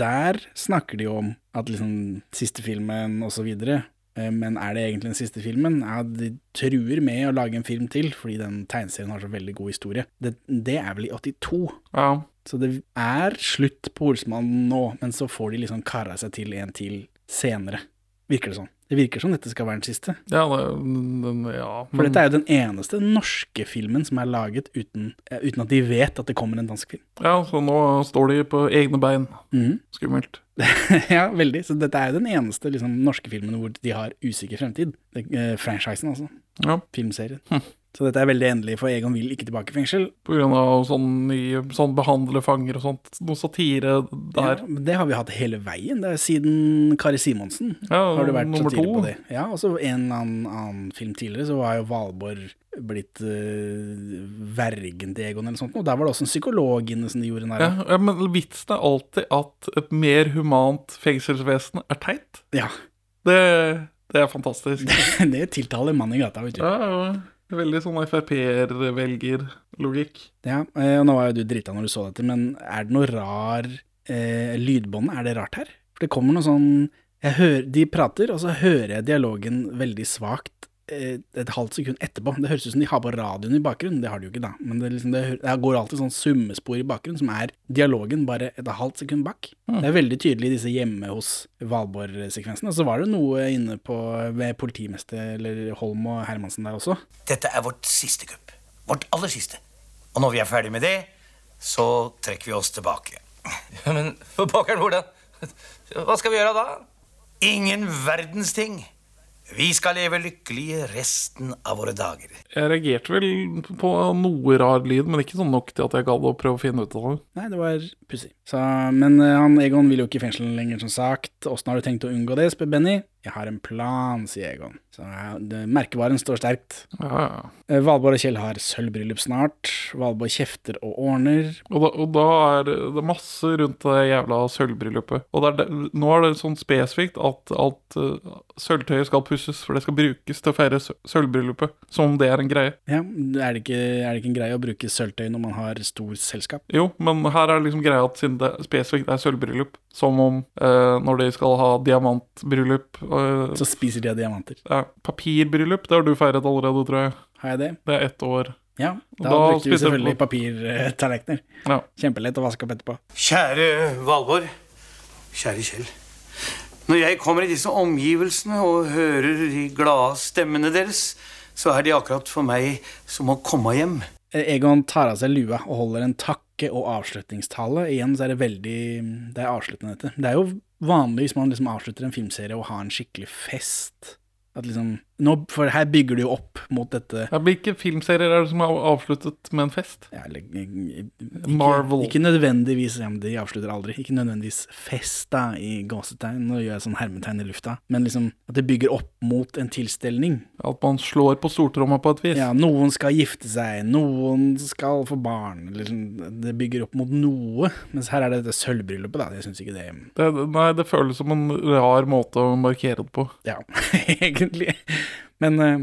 Speaker 1: Der snakker de jo om at liksom siste filmen og så videre, eh, men er det egentlig den siste filmen? Ja, de truer med å lage en film til, fordi den tegneserien har så veldig god historie. Det, det er vel i 82,
Speaker 2: ja.
Speaker 1: så det er slutt på Olsmannen nå, men så får de liksom kara seg til en til senere, virker det sånn. Det virker som dette skal være den siste,
Speaker 2: Ja, det, den, ja.
Speaker 1: for dette er jo den eneste norske filmen som er laget uten, eh, uten at de vet at det kommer en dansk film.
Speaker 2: ja, så nå står de på egne bein.
Speaker 1: Mhm.
Speaker 2: Skummelt.
Speaker 1: [LAUGHS] ja, veldig. Så dette er jo den eneste liksom, norske filmen hvor de har usikker fremtid. Det, eh, franchisen, altså.
Speaker 2: Ja. Hm.
Speaker 1: Filmserien. Så dette er veldig endelig, for Egon vil ikke tilbake i fengsel.
Speaker 2: På grunn av sånn, ny, sånn behandle fanger og sånt. Noe satire der.
Speaker 1: Ja, men det har vi hatt hele veien. Det er siden Kari Simonsen.
Speaker 2: Ja,
Speaker 1: har det vært
Speaker 2: nummer
Speaker 1: satire
Speaker 2: to.
Speaker 1: på det. Ja, og så en annen, annen film tidligere, så var jo Valborg blitt eh, vergen til Egon eller sånt, og der var det også en psykolog inne som de gjorde narr
Speaker 2: Ja,
Speaker 1: av.
Speaker 2: ja, men vitsen er alltid at et mer humant fengselsvesen er teit.
Speaker 1: Ja.
Speaker 2: Det, det er fantastisk.
Speaker 1: [LAUGHS] det tiltaler mannen i gata, vet du.
Speaker 2: [LAUGHS] Ja, ja. Veldig sånn Frp-velgerlogikk.
Speaker 1: Ja, eh, og nå var jo du drita når du så dette, men er det noe rar eh, Lydbåndet, er det rart her? For det kommer noe sånn jeg hører, De prater, og så hører jeg dialogen veldig svakt eh, et halvt sekund etterpå. Det høres ut som de har på radioen i bakgrunnen, det har de jo ikke da. Men det, er liksom, det, hø- det går alltid sånn summespor i bakgrunnen, som er dialogen bare et halvt sekund bak. Det er veldig tydelig i disse hjemme hos Valborg-sekvensene. Og så var det noe inne på ved politimester eller Holm og Hermansen der også.
Speaker 8: Dette er vårt siste kupp. Vårt aller siste. Og når vi er ferdig med det, så trekker vi oss tilbake. Ja, men for pokkeren, hvordan? Hva skal vi gjøre da? Ingen verdens ting. Vi skal leve lykkelige resten av våre dager.
Speaker 2: Jeg reagerte vel på noe rar lyd, men ikke sånn nok til at jeg gadd å prøve å finne ut av det.
Speaker 1: Nei, det var pussig. Så, Men eh, han Egon vil jo ikke i fengsel lenger, som sagt. Åssen har du tenkt å unngå det, spør Benny. Jeg har en plan, sier Egon. Så ja, det, merkevaren står sterkt.
Speaker 2: Ja, ja.
Speaker 1: Eh, Valborg og Kjell har sølvbryllup snart. Valborg kjefter og ordner.
Speaker 2: Og da, og da er det det er masse rundt det jævla sølvbryllupet. Og det er det, nå er det sånn spesifikt at alt eh, sølvtøyet skal pusses, for det skal brukes til å feire sø- sølvbryllupet. Som om det er en greie.
Speaker 1: Ja, er det, ikke, er det ikke en greie å bruke sølvtøy når man har stor selskap?
Speaker 2: Jo, men her er liksom greia at siden det spesifikt er sølvbryllup, som om eh, når de skal ha diamantbryllup eh,
Speaker 1: Så spiser de av diamanter.
Speaker 2: ja, Papirbryllup, det har du feiret allerede, tror jeg.
Speaker 1: Har jeg det?
Speaker 2: Det er ett år.
Speaker 1: Ja. Da,
Speaker 2: Da
Speaker 1: brukte vi
Speaker 2: spiser
Speaker 1: selvfølgelig
Speaker 2: vi-
Speaker 1: papirtallerkener.
Speaker 2: Ja.
Speaker 1: Kjempelett å vaske opp etterpå.
Speaker 8: Kjære Valborg. Kjære Kjell. Når jeg kommer i disse omgivelsene og hører de glade stemmene deres, så er de akkurat for meg som å komme hjem.
Speaker 1: Eh, Egon tar av seg lua og holder en takke- og avslutningstale. Igjen så er det veldig mm, Det er avsluttende, dette. Det er jo vanlig hvis man liksom avslutter en filmserie og har en skikkelig fest. At liksom nå, For her bygger du jo opp mot dette
Speaker 2: Ja, Hvilke filmserier er det som har avsluttet med en fest?
Speaker 1: ja, eller, ikke,
Speaker 2: Marvel.
Speaker 1: Ikke nødvendigvis ja, men De avslutter aldri. Ikke nødvendigvis festa i gåsetegn. Nå gjør jeg sånn hermetegn i lufta. Men liksom at det bygger opp mot en tilstelning.
Speaker 2: At man slår på stortromma på et vis?
Speaker 1: Ja, noen skal gifte seg, noen skal få barn. eller sånn, Det bygger opp mot noe. Mens her er det dette sølvbryllupet, da. Jeg syns ikke det
Speaker 2: Det, nei, det føles som en rar måte å markere det på.
Speaker 1: Ja, [LAUGHS] egentlig. Men eh,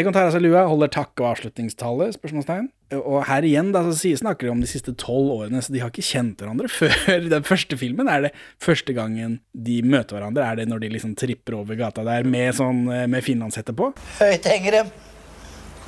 Speaker 1: Egon tar av seg lua, holder takke- og avslutningstallet, spørsmålstegn. Og her igjen da, så sier- snakker de om de siste tolv årene, så de har ikke kjent hverandre [LAUGHS] før den første filmen. Er det første gangen de møter hverandre? Er det når de liksom tripper over gata der med, sånn, eh, med finlandshette på?
Speaker 6: Høyt henger dem,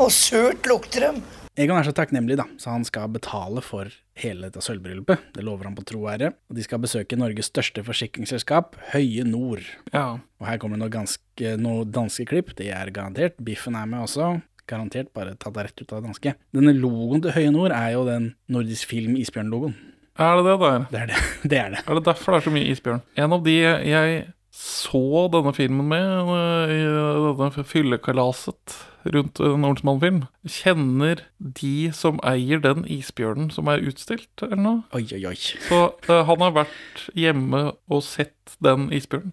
Speaker 6: og surt lukter dem.
Speaker 1: Egon er så takknemlig, da, så han skal betale for hele dette sølvbryllupet. Det lover han på tro og ære. Og de skal besøke Norges største forsikringsselskap, Høye Nord.
Speaker 2: Ja.
Speaker 1: Og her kommer det noe, ganske, noe danske klipp, det er garantert. Biffen er med også. Garantert bare tatt rett ut av det danske. Denne logoen til Høye Nord er jo den Nordisk Film Isbjørn-logoen.
Speaker 2: Er det det der?
Speaker 1: Det er det. [LAUGHS] det er det.
Speaker 2: Er det derfor det er så mye isbjørn? En av de jeg så denne filmen med, eh, i denne fyllekalaset rundt en Olsmann-film, kjenner de som eier den isbjørnen som er utstilt, eller noe.
Speaker 1: Oi, oi, oi.
Speaker 2: Så eh, han har vært hjemme og sett den isbjørnen.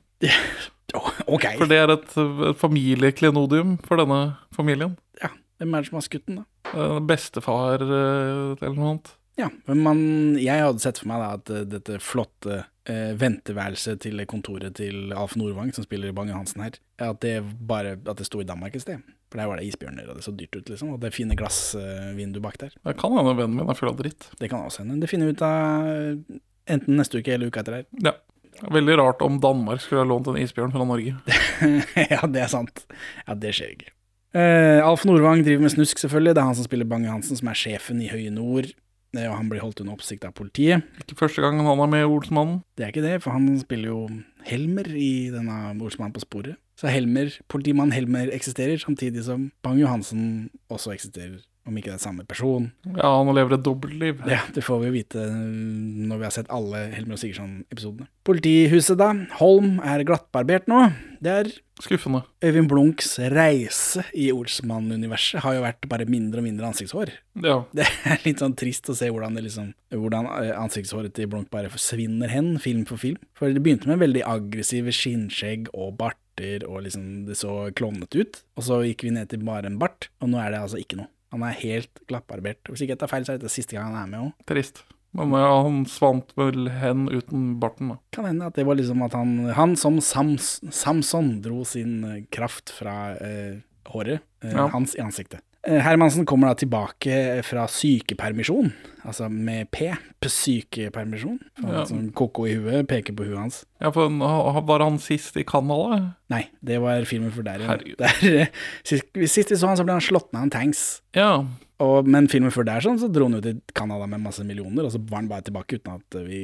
Speaker 1: Å, ok.
Speaker 2: For det er et, eh, familieklenodium for denne familien.
Speaker 1: Ja. Hvem er det som har skutt den, da?
Speaker 2: Eh, Bestefar eh, eller noe annet.
Speaker 1: Ja, men man, jeg hadde sett for meg da at eh, dette flotte eh, venteværelset til kontoret til Alf Nordvang, som spiller Bange-Hansen her, at det bare at det sto i Danmark et sted. For der var det isbjørner, og det så dyrt ut, liksom. Og det fine glassvinduet bak der.
Speaker 2: Det kan hende vennen min er full av dritt.
Speaker 1: Det kan også hende. Det finner vi ut av eh, enten neste uke eller uka etter her. [LAUGHS]
Speaker 2: Ja. Veldig rart om Danmark skulle ha lånt en isbjørn fra Norge.
Speaker 1: ja, det er sant. Ja, det skjer ikke. Eh, Alf Nordvang driver med snusk, selvfølgelig. Det er han som spiller Bange-Hansen, som er sjefen i Høye Nord. Eh, Og han blir holdt under oppsikt av politiet.
Speaker 2: Ikke første gang han er med i Olsmannen.
Speaker 1: Det er ikke det, for han spiller jo Helmer i denne Olsmann på sporet. Så Helmer, politimann Helmer eksisterer, samtidig som Bang-Johansen også eksisterer. Om ikke det er samme person.
Speaker 2: Ja, han lever et dobbeltliv.
Speaker 1: Ja, Det får vi jo vite øh, når vi har sett alle Helmer og Sigurdsson-episodene. Politihuset, da. Holm er glattbarbert nå. Det er
Speaker 2: Skuffende.
Speaker 1: Øyvind Blunks reise i Olsmann-universet har jo vært bare mindre og mindre ansiktshår.
Speaker 2: Ja.
Speaker 1: [LAUGHS] Det er litt sånn trist å se hvordan, det liksom, hvordan eh, ansiktshåret til Blunk bare forsvinner hen, film for film. For det begynte med veldig aggressive skinnskjegg og barter, og liksom det så klovnete ut. Og så gikk vi ned til bare en bart, og nå er det altså ikke noe. Han er helt glattbarbert. Og Hvis ikke jeg tar feil, så er dette siste gang han er med òg.
Speaker 2: Trist. Men ja, han svant vel hen uten barten, da.
Speaker 1: Kan hende at det var liksom at han, han som Sams, Samson dro sin eh, kraft fra eh, håret eh,
Speaker 2: Ja.
Speaker 1: hans i ansiktet. Eh, Hermansen kommer da tilbake eh, fra sykepermisjon, altså med P, på sykepermisjon. For
Speaker 2: Ja.
Speaker 1: Han som koko i huet peker på huet hans.
Speaker 2: Ja, for han- han- Var han sist i Canada?
Speaker 1: Nei, det var filmen for der igjen.
Speaker 2: Herregud.
Speaker 1: [LAUGHS] Der, eh, sist, sist vi så han, så ble han slått ned av en tanks.
Speaker 2: Ja.
Speaker 1: Og, men filmen før der sånn, så dro han jo til Canada med masse millioner, og så var han bare tilbake uten at eh, vi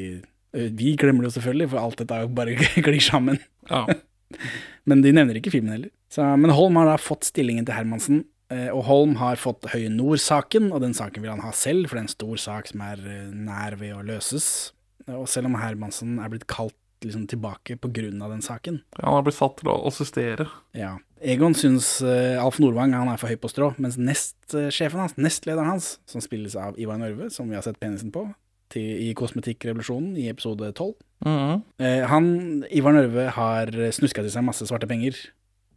Speaker 1: Vi glemmer det jo selvfølgelig, for alt dette er jo bare [LAUGHS] glir sammen.
Speaker 2: ja.
Speaker 1: Men de nevner ikke filmen heller. Så, men Holm har da fått stillingen til Hermansen, eh, og Holm har fått Høye Nord-saken, og den saken vil han ha selv, for det er en stor sak som er eh, nær ved å løses. Og selv om Hermansen er blitt kalt liksom, tilbake på grunn av den saken,
Speaker 2: Han har blitt satt til å assistere.
Speaker 1: ja. Egon syns eh, Alf Nordvang han er for høy på strå, mens nestsjefen hans, nestlederen hans, som spilles av Ivar Nørve, som vi har sett penisen på til, i Kosmetikkrevolusjonen i episode 12,
Speaker 2: Mhm.
Speaker 1: Eh, han, Ivar Nørve, har snuska til seg masse svarte penger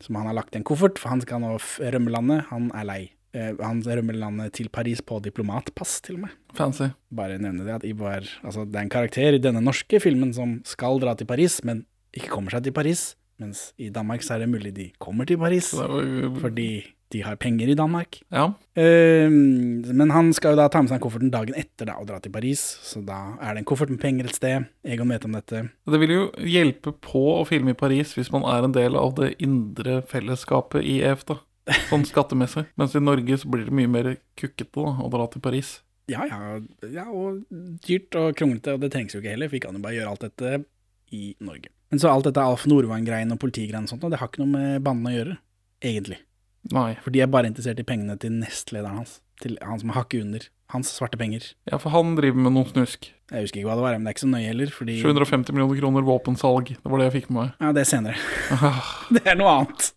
Speaker 1: som han har lagt i en koffert, for han skal nå f- rømme landet. Han er lei. Eh, han rømmer landet til Paris på diplomatpass, til og med.
Speaker 2: Fancy.
Speaker 1: Bare nevne det at Ivar Altså, det er en karakter i denne norske filmen som skal dra til Paris, men ikke kommer seg til Paris. Mens i Danmark så er det mulig de kommer til Paris,
Speaker 2: Så det var jo-
Speaker 1: fordi de har penger i Danmark.
Speaker 2: Ja.
Speaker 1: Eh, men han skal jo da ta med seg kofferten dagen etter da, og dra til Paris, så da er det en koffert med penger et sted. Egon vet om dette.
Speaker 2: Det vil jo hjelpe på å filme i Paris hvis man er en del av det indre fellesskapet i EF, da. Sånn skattemessig. Mens i Norge så blir det mye mer kukkete da, å dra til Paris.
Speaker 1: Ja, ja, ja, og dyrt og kronglete, og det trengs jo ikke heller, for vi kan jo bare gjøre alt dette i Norge. Men så alt dette Alf Nordvang-greien og politigreiene og sånt, og det har ikke noe med bandene å gjøre, egentlig.
Speaker 2: Nei.
Speaker 1: For de er bare interessert i pengene til nestlederen hans, til han som har hakket under, hans svarte penger.
Speaker 2: Ja, for han driver med noe snusk.
Speaker 1: Jeg husker ikke hva det var, men det er ikke så nøye heller, fordi...
Speaker 2: 750 millioner kroner våpensalg. Det var det jeg fikk med meg. Ah.
Speaker 1: Ja, [LAUGHS] det er senere. det er noe annet.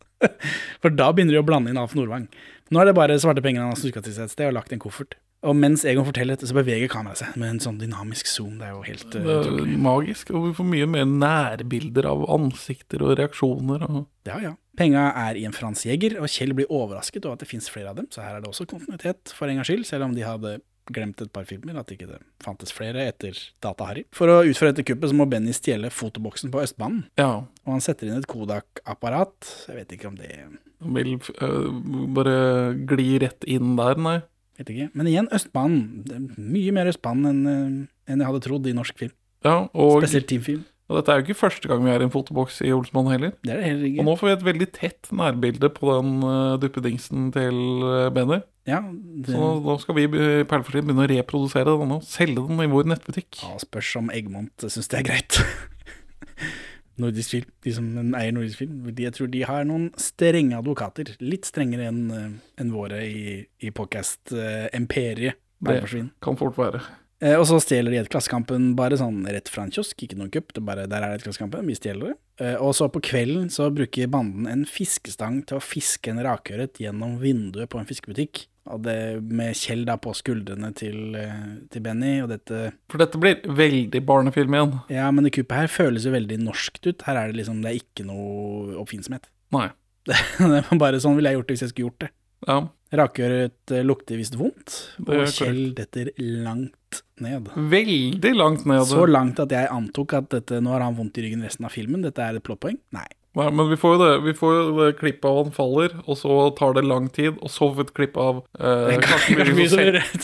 Speaker 1: For da begynner de å blande inn Alf Nordvang. Nå er det bare svarte penger han har snuska til seg et sted og lagt i en koffert. Og mens Egon forteller dette, så beveger kameraet seg med en sånn dynamisk zoom. Det er jo helt eh,
Speaker 2: Det er
Speaker 1: utrolig.
Speaker 2: magisk. Og vi får mye mer nærbilder av ansikter og reaksjoner. Og
Speaker 1: Ja, ja. Penga er i en Frans Jæger, og Kjell blir overrasket over at det fins flere av dem, så her er det også kontinuitet for en gangs skyld, selv om de hadde glemt et par filmer, at ikke det fantes flere etter Data-Harry. For å utføre dette kuppet så må Benny stjele fotoboksen på Østbanen,
Speaker 2: ja,
Speaker 1: og han setter inn et Kodak-apparat. Jeg vet ikke om det
Speaker 2: han vil øh, bare gli rett inn der, nei.
Speaker 1: Vet ikke. Men igjen, Østbanen. Det er mye mer Østbanen enn eh, enn jeg hadde trodd i norsk film.
Speaker 2: Ja, og,
Speaker 1: Spesielt teamfilm.
Speaker 2: og dette er jo ikke første gang vi er i en fotoboks i Olsmann heller.
Speaker 1: Det er det heller
Speaker 2: Og
Speaker 1: ikke.
Speaker 2: nå får vi et veldig tett nærbilde på den øh, duppedingsen til øh, Benny.
Speaker 1: Ja,
Speaker 2: Så
Speaker 1: det,
Speaker 2: nå, nå skal vi eh, i Perleforskjell begynne å reprodusere den og selge den i vår nettbutikk.
Speaker 1: ja, spørs om Eggmont syns det er greit. [LAUGHS] nordisk film, De som eier nordisk film, de, jeg tror de har noen strenge advokater. Litt strengere enn eh, enn våre i, i eh, podcast-imperiet. Uh,
Speaker 2: Kan fort være.
Speaker 1: Eh, og så stjeler de et Klassekampen bare sånn rett fra en kiosk, ikke noen kupp, det er bare der er det et Klassekampen, vi stjeler det. Eh, og så på kvelden så bruker banden en fiskestang til å fiske en rakørret gjennom vinduet på en fiskebutikk. Og det med Kjell da på skuldrene til, eh, til Benny, og dette
Speaker 2: For dette blir veldig barnefilm igjen.
Speaker 1: Ja, men det kuppet her føles jo veldig norskt ut. Her er det liksom, det er ikke noe oppfinnsomhet. [LAUGHS]
Speaker 2: Nei.
Speaker 1: det var bare sånn ville jeg gjort det hvis jeg skulle gjort det.
Speaker 2: Ja,
Speaker 1: Rakørret eh, lukter visst vondt,
Speaker 2: Det er
Speaker 1: og Kjell detter langt ned.
Speaker 2: Veldig langt ned.
Speaker 1: Så langt at jeg antok at dette, nå har han vondt i ryggen resten av filmen, dette er et plottpoeng? Nei.
Speaker 2: Nei, men vi får jo det, vi får jo det klippet av han faller, og så tar det lang tid, og så får vi et klipp av eh,
Speaker 1: [LAUGHS]
Speaker 2: Karsten Myhre som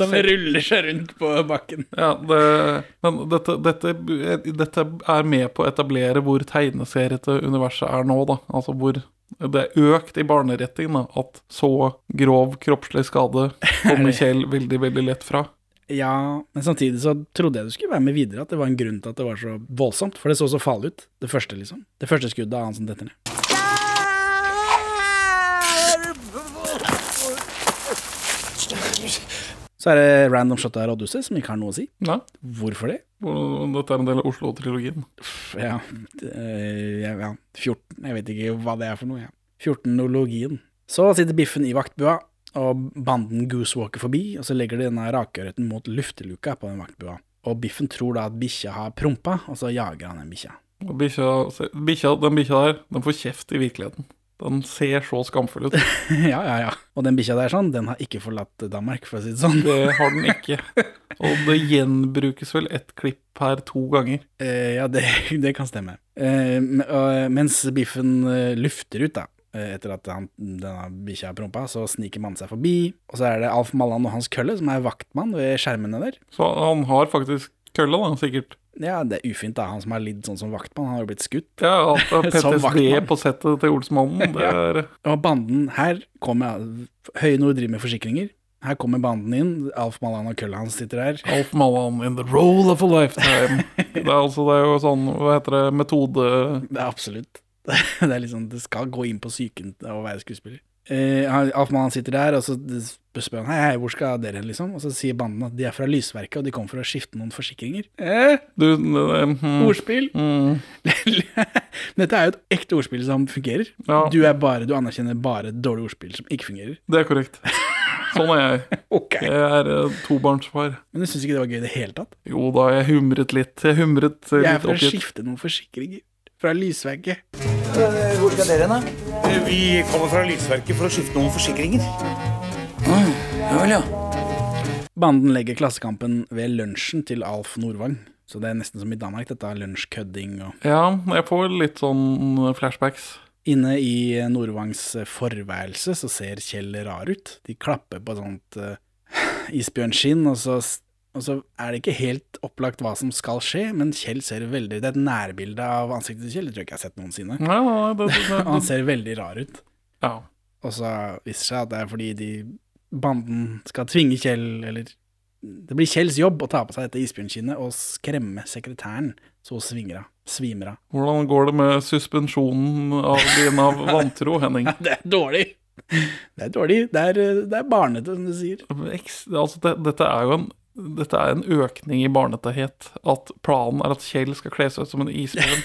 Speaker 2: selv- selv-
Speaker 1: ruller seg rundt på bakken.
Speaker 2: ja, det, Men dette, dette, dette er med på å etablere hvor tegneseriete universet er nå, da. Altså hvor det er økt i barnerettingen, da, at så grov kroppslig skade kommer Kjell veldig, veldig lett fra.
Speaker 1: Ja, men samtidig så trodde jeg du skulle være med videre, at det var en grunn til at det var så voldsomt, for det så så farlig ut, det første liksom. Det første skuddet av han som detter ned. Så er det random shot av Roddhuset, som ikke har noe å si.
Speaker 2: Nei,
Speaker 1: Hvorfor det?
Speaker 2: hvor- dette er en del av Oslo-trilogien.
Speaker 1: Pff, Ja, det, eh, ja, ja, 14, jeg vet ikke hva det er for noe, ja. 14-ologien. Så sitter biffen i vaktbua, og banden goosewalker forbi, og så legger de denne rakørreten mot lufteluka på den vaktbua. Og biffen tror da at bikkja har prompa, og så jager han den bikkja. [LAUGHS]
Speaker 2: Og bikkja- se- bikkja- Den bikkja der, den får kjeft i virkeligheten. Den ser så skamfull ut.
Speaker 1: ja, ja, ja. Og den bikkja der sånn, den har ikke forlatt Danmark, for å si det sånn.
Speaker 2: Det har den ikke. Og det gjenbrukes vel ett klipp her to ganger.
Speaker 1: Eh, ja, det, [LAUGHS] det kan stemme. Eh, men- og mens biffen eh, lufter ut, da, eh, etter at han, denne bikkja har prompa, så sniker mannen seg forbi. Og så er det Alf Malland og Hans Kølle, som er vaktmann ved skjermene der.
Speaker 2: Så han har faktisk kølla, da, sikkert.
Speaker 1: Ja, det er ufint, da. Han som har lidd sånn som vaktmann, han har jo blitt skutt.
Speaker 2: Ja,
Speaker 1: [LAUGHS]
Speaker 2: at det er
Speaker 1: Som
Speaker 2: PTSD
Speaker 1: vaktmann.
Speaker 2: på settet til Olsmannen, det er
Speaker 1: Og banden her kommer Høye Nord driver med forsikringer. Her kommer banden inn. Alf Malland og Kølle hans sitter der.
Speaker 2: Alf Mallan in the role of a lifetime. Det er altså det er jo sånn, hva heter det, metode
Speaker 1: Det er absolutt. [LAUGHS] Det er liksom, det skal gå inn på psyken å være skuespiller. Eh, han- Alf Mann sitter der, og så spør han hei, hei, hvor skal dere hen, liksom? Og så sier banden at de er fra Lysverket, og de kommer for å skifte noen forsikringer. Eh,
Speaker 2: Du, eh, hmm,
Speaker 1: ordspill! [LAUGHS]
Speaker 2: hmm,
Speaker 1: Dette er jo et ekte ordspill som fungerer.
Speaker 2: Ja.
Speaker 1: Du, er bare, du anerkjenner bare dårlige ordspill som ikke fungerer.
Speaker 2: det er korrekt. Sånn er jeg.
Speaker 1: Ok.
Speaker 2: Jeg er eh, tobarnsfar.
Speaker 1: Men du syns ikke det var gøy i det hele tatt?
Speaker 2: Jo da, jeg humret litt. Jeg humret eh,
Speaker 1: Jeg er
Speaker 2: litt
Speaker 1: for å
Speaker 2: oppgitt.
Speaker 1: skifte noen forsikringer. Fra Lysverket.
Speaker 6: Hvor skal dere hen, da?
Speaker 5: Vi kommer fra Lysverket for å skifte noen forsikringer.
Speaker 1: Banden legger Klassekampen ved lunsjen til Alf Nordvang. Så det er nesten som i Danmark, dette er lunsjkødding og
Speaker 2: Ja, jeg får litt sånn flashbacks.
Speaker 1: Inne i Nordvangs eh, forværelse så ser Kjell rar ut. De klapper på et sånt uh, isbjørnskinn, og så, og så er det ikke helt opplagt hva som skal skje, men Kjell ser veldig Det er et nærbilde av ansiktet til Kjell, det tror jeg ikke jeg har sett noensinne.
Speaker 2: Nei, nei, det, det, det,
Speaker 1: Og han ser veldig rar ut.
Speaker 2: ja.
Speaker 1: Og så viser det seg at det er fordi de banden skal tvinge Kjell, eller Det blir Kjells jobb å ta på seg dette isbjørnskinnet og skremme sekretæren, så hun svinger av. Svimer av.
Speaker 2: Hvordan går det med suspensjonen av din av vantro, Henning?
Speaker 1: [LAUGHS] Det er dårlig! Det er dårlig. Det er, det er barnete, som du sier.
Speaker 2: Eks- Altså, det, dette er jo en
Speaker 1: [LAUGHS]
Speaker 2: dette er en økning i barnetehet. At planen er at Kjell skal kle seg ut som en isbjørn.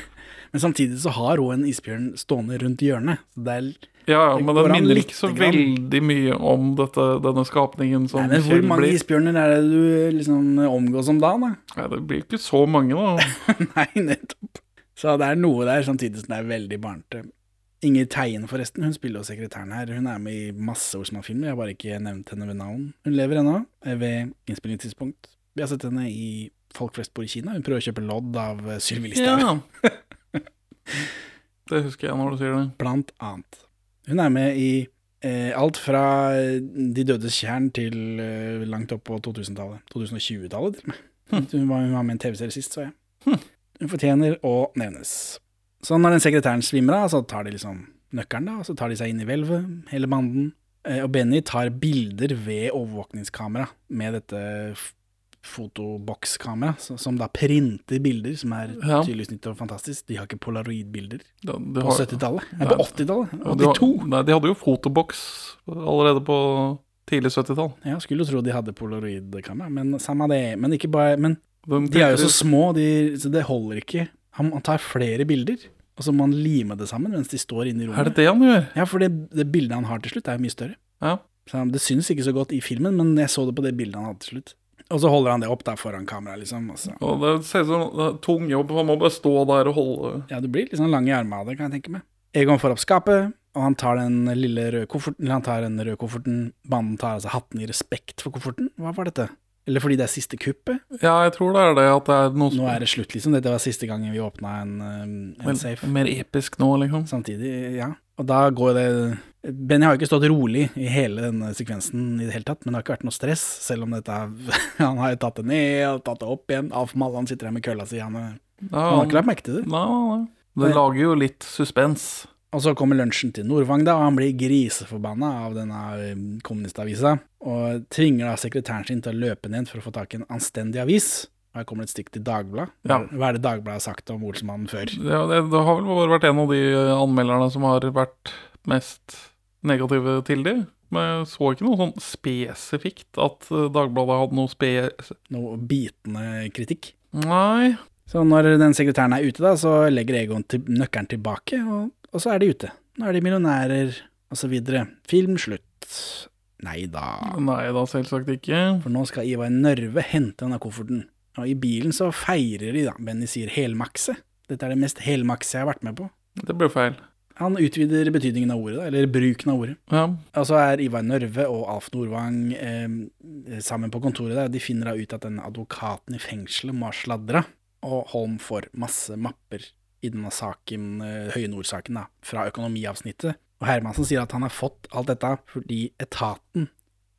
Speaker 1: Men samtidig så har hun en isbjørn stående rundt hjørnet. Så det er
Speaker 2: Ja, ja, men
Speaker 1: går
Speaker 2: den
Speaker 1: an
Speaker 2: minner
Speaker 1: lite
Speaker 2: ikke så
Speaker 1: grann.
Speaker 2: veldig mye om dette, denne skapningen som
Speaker 1: Nei, men hvor
Speaker 2: Kjell
Speaker 1: mange
Speaker 2: blir.
Speaker 1: isbjørner er det du liksom omgås om dagen, da? [LAUGHS]
Speaker 2: Nei, det blir jo ikke så mange, da.
Speaker 1: Nei, nettopp. Så det er noe der samtidig som det er veldig barnete. Inger Teien, forresten, hun spiller jo sekretæren her. Hun er med i masse Olsman-filmer, jeg har bare ikke nevnt henne ved navn. Hun lever ennå, eh, ved innspillingstidspunkt. Vi har sett henne i Folk flest bor i Kina. Hun prøver å kjøpe lodd av eh, Sylvi Listhaug,
Speaker 2: Ja. Det husker jeg når du sier det.
Speaker 1: blant annet. Hun er med i eh, alt fra eh, De dødes tjern til eh, langt opp på 2000-tallet. 2020-tallet, til og med. Hun var, hun var med i en TV-serie sist, så jeg. Hun fortjener å nevnes. Så når den sekretæren svimmer av, så tar de liksom nøkkelen, da, og så tar de seg inn i hvelvet, hele banden. Eh, Og Benny tar bilder ved overvåkningskamera med dette f- fotobokskamera, så- som da printer bilder, som er
Speaker 2: Ja.
Speaker 1: tydeligvis nytt og fantastisk. De har ikke polaroidbilder
Speaker 2: Da- du
Speaker 1: på
Speaker 2: har-
Speaker 1: 70-tallet. Nei, på 80-tallet.
Speaker 2: Ja, du har-
Speaker 1: 82.
Speaker 2: Nei, de hadde jo fotoboks allerede på tidlig 70-tall.
Speaker 1: Ja, skulle jo tro de hadde polaroidkamera, men samme det. Men, ikke bare, men
Speaker 2: Den
Speaker 1: De er jo
Speaker 2: printer-
Speaker 1: så små, de, så det holder ikke. Han, han tar flere bilder, og så må han lime det sammen mens de står inne i
Speaker 2: Er
Speaker 1: rommet.
Speaker 2: det det han gjør?
Speaker 1: Ja, for det, det bildet han har til slutt, er jo mye større.
Speaker 2: Ja.
Speaker 1: Så han- det syns ikke så godt i filmen, men jeg så det på det bildet han hadde til slutt. Og så holder han det opp der foran kamera, liksom. Og så.
Speaker 2: Og det ser ut som det er tung jobb, for han må bare stå der og holde
Speaker 1: Ja, du blir litt sånn lang i armene av det, kan jeg tenke meg. Egon får opp skapet, og han tar den lille røde kofferten, eller han tar den røde kofferten, mannen tar altså hatten i respekt for kofferten. Hva var dette? Eller fordi det er siste kuppet?
Speaker 2: Ja, jeg tror det er det at det er noe som
Speaker 1: Nå er det slutt, liksom. Dette var siste gangen vi åpna en, eh, en safe.
Speaker 2: mer episk nå, liksom.
Speaker 1: Samtidig, ja. Og da går det Benny har jo ikke stått rolig i hele denne sekvensen i det hele tatt, men det har ikke vært noe stress, selv om dette er, [LAUGHS] Han har jo tatt det ned og tatt det opp igjen. Alf Mallan sitter her med kølla si, han, er-
Speaker 2: Ja,
Speaker 1: han har ikke lagt merke til det.
Speaker 2: Nei, nei, nei. Det lager jo litt suspens.
Speaker 1: Og så kommer lunsjen til Nordvang, da, og han blir griseforbanna av denne eh, kommunistavisa, og tvinger da sekretæren sin til å løpe ned for å få tak i en anstendig avis. Her kommer det et stikk til Dagbladet.
Speaker 2: Ja.
Speaker 1: Hva er det Dagbladet har sagt om Olsmannen før?
Speaker 2: Det, det, det har vel bare vært en av de eh, anmelderne som har vært mest negative til de. Men jeg så ikke noe sånn spesifikt at eh, Dagbladet hadde noe spe...
Speaker 1: Noe bitende kritikk?
Speaker 2: Nei.
Speaker 1: Så når den sekretæren er ute, da, så legger Egon til nøkkelen tilbake, og, og så er de ute. Nå er de millionærer, og så videre. Film slutt. Nei da.
Speaker 2: Nei da, selvsagt ikke.
Speaker 1: For nå skal Ivar Nørve hente denne kofferten. Og i bilen så feirer de, da. Benny sier helmakse. Dette er det mest helmakse jeg har vært med på.
Speaker 2: Det ble feil.
Speaker 1: Han utvider betydningen av ordet, da, eller bruken av ordet.
Speaker 2: Ja.
Speaker 1: Og så er Ivar Nørve og Alf Nordvang eh, sammen på kontoret der, og de finner da ut at den advokaten i fengselet må ha sladra, og Holm får masse mapper i denne saken, eh, Høye Nord-saken, da, fra økonomiavsnittet. Og Hermansen sier at han har fått alt dette fordi etaten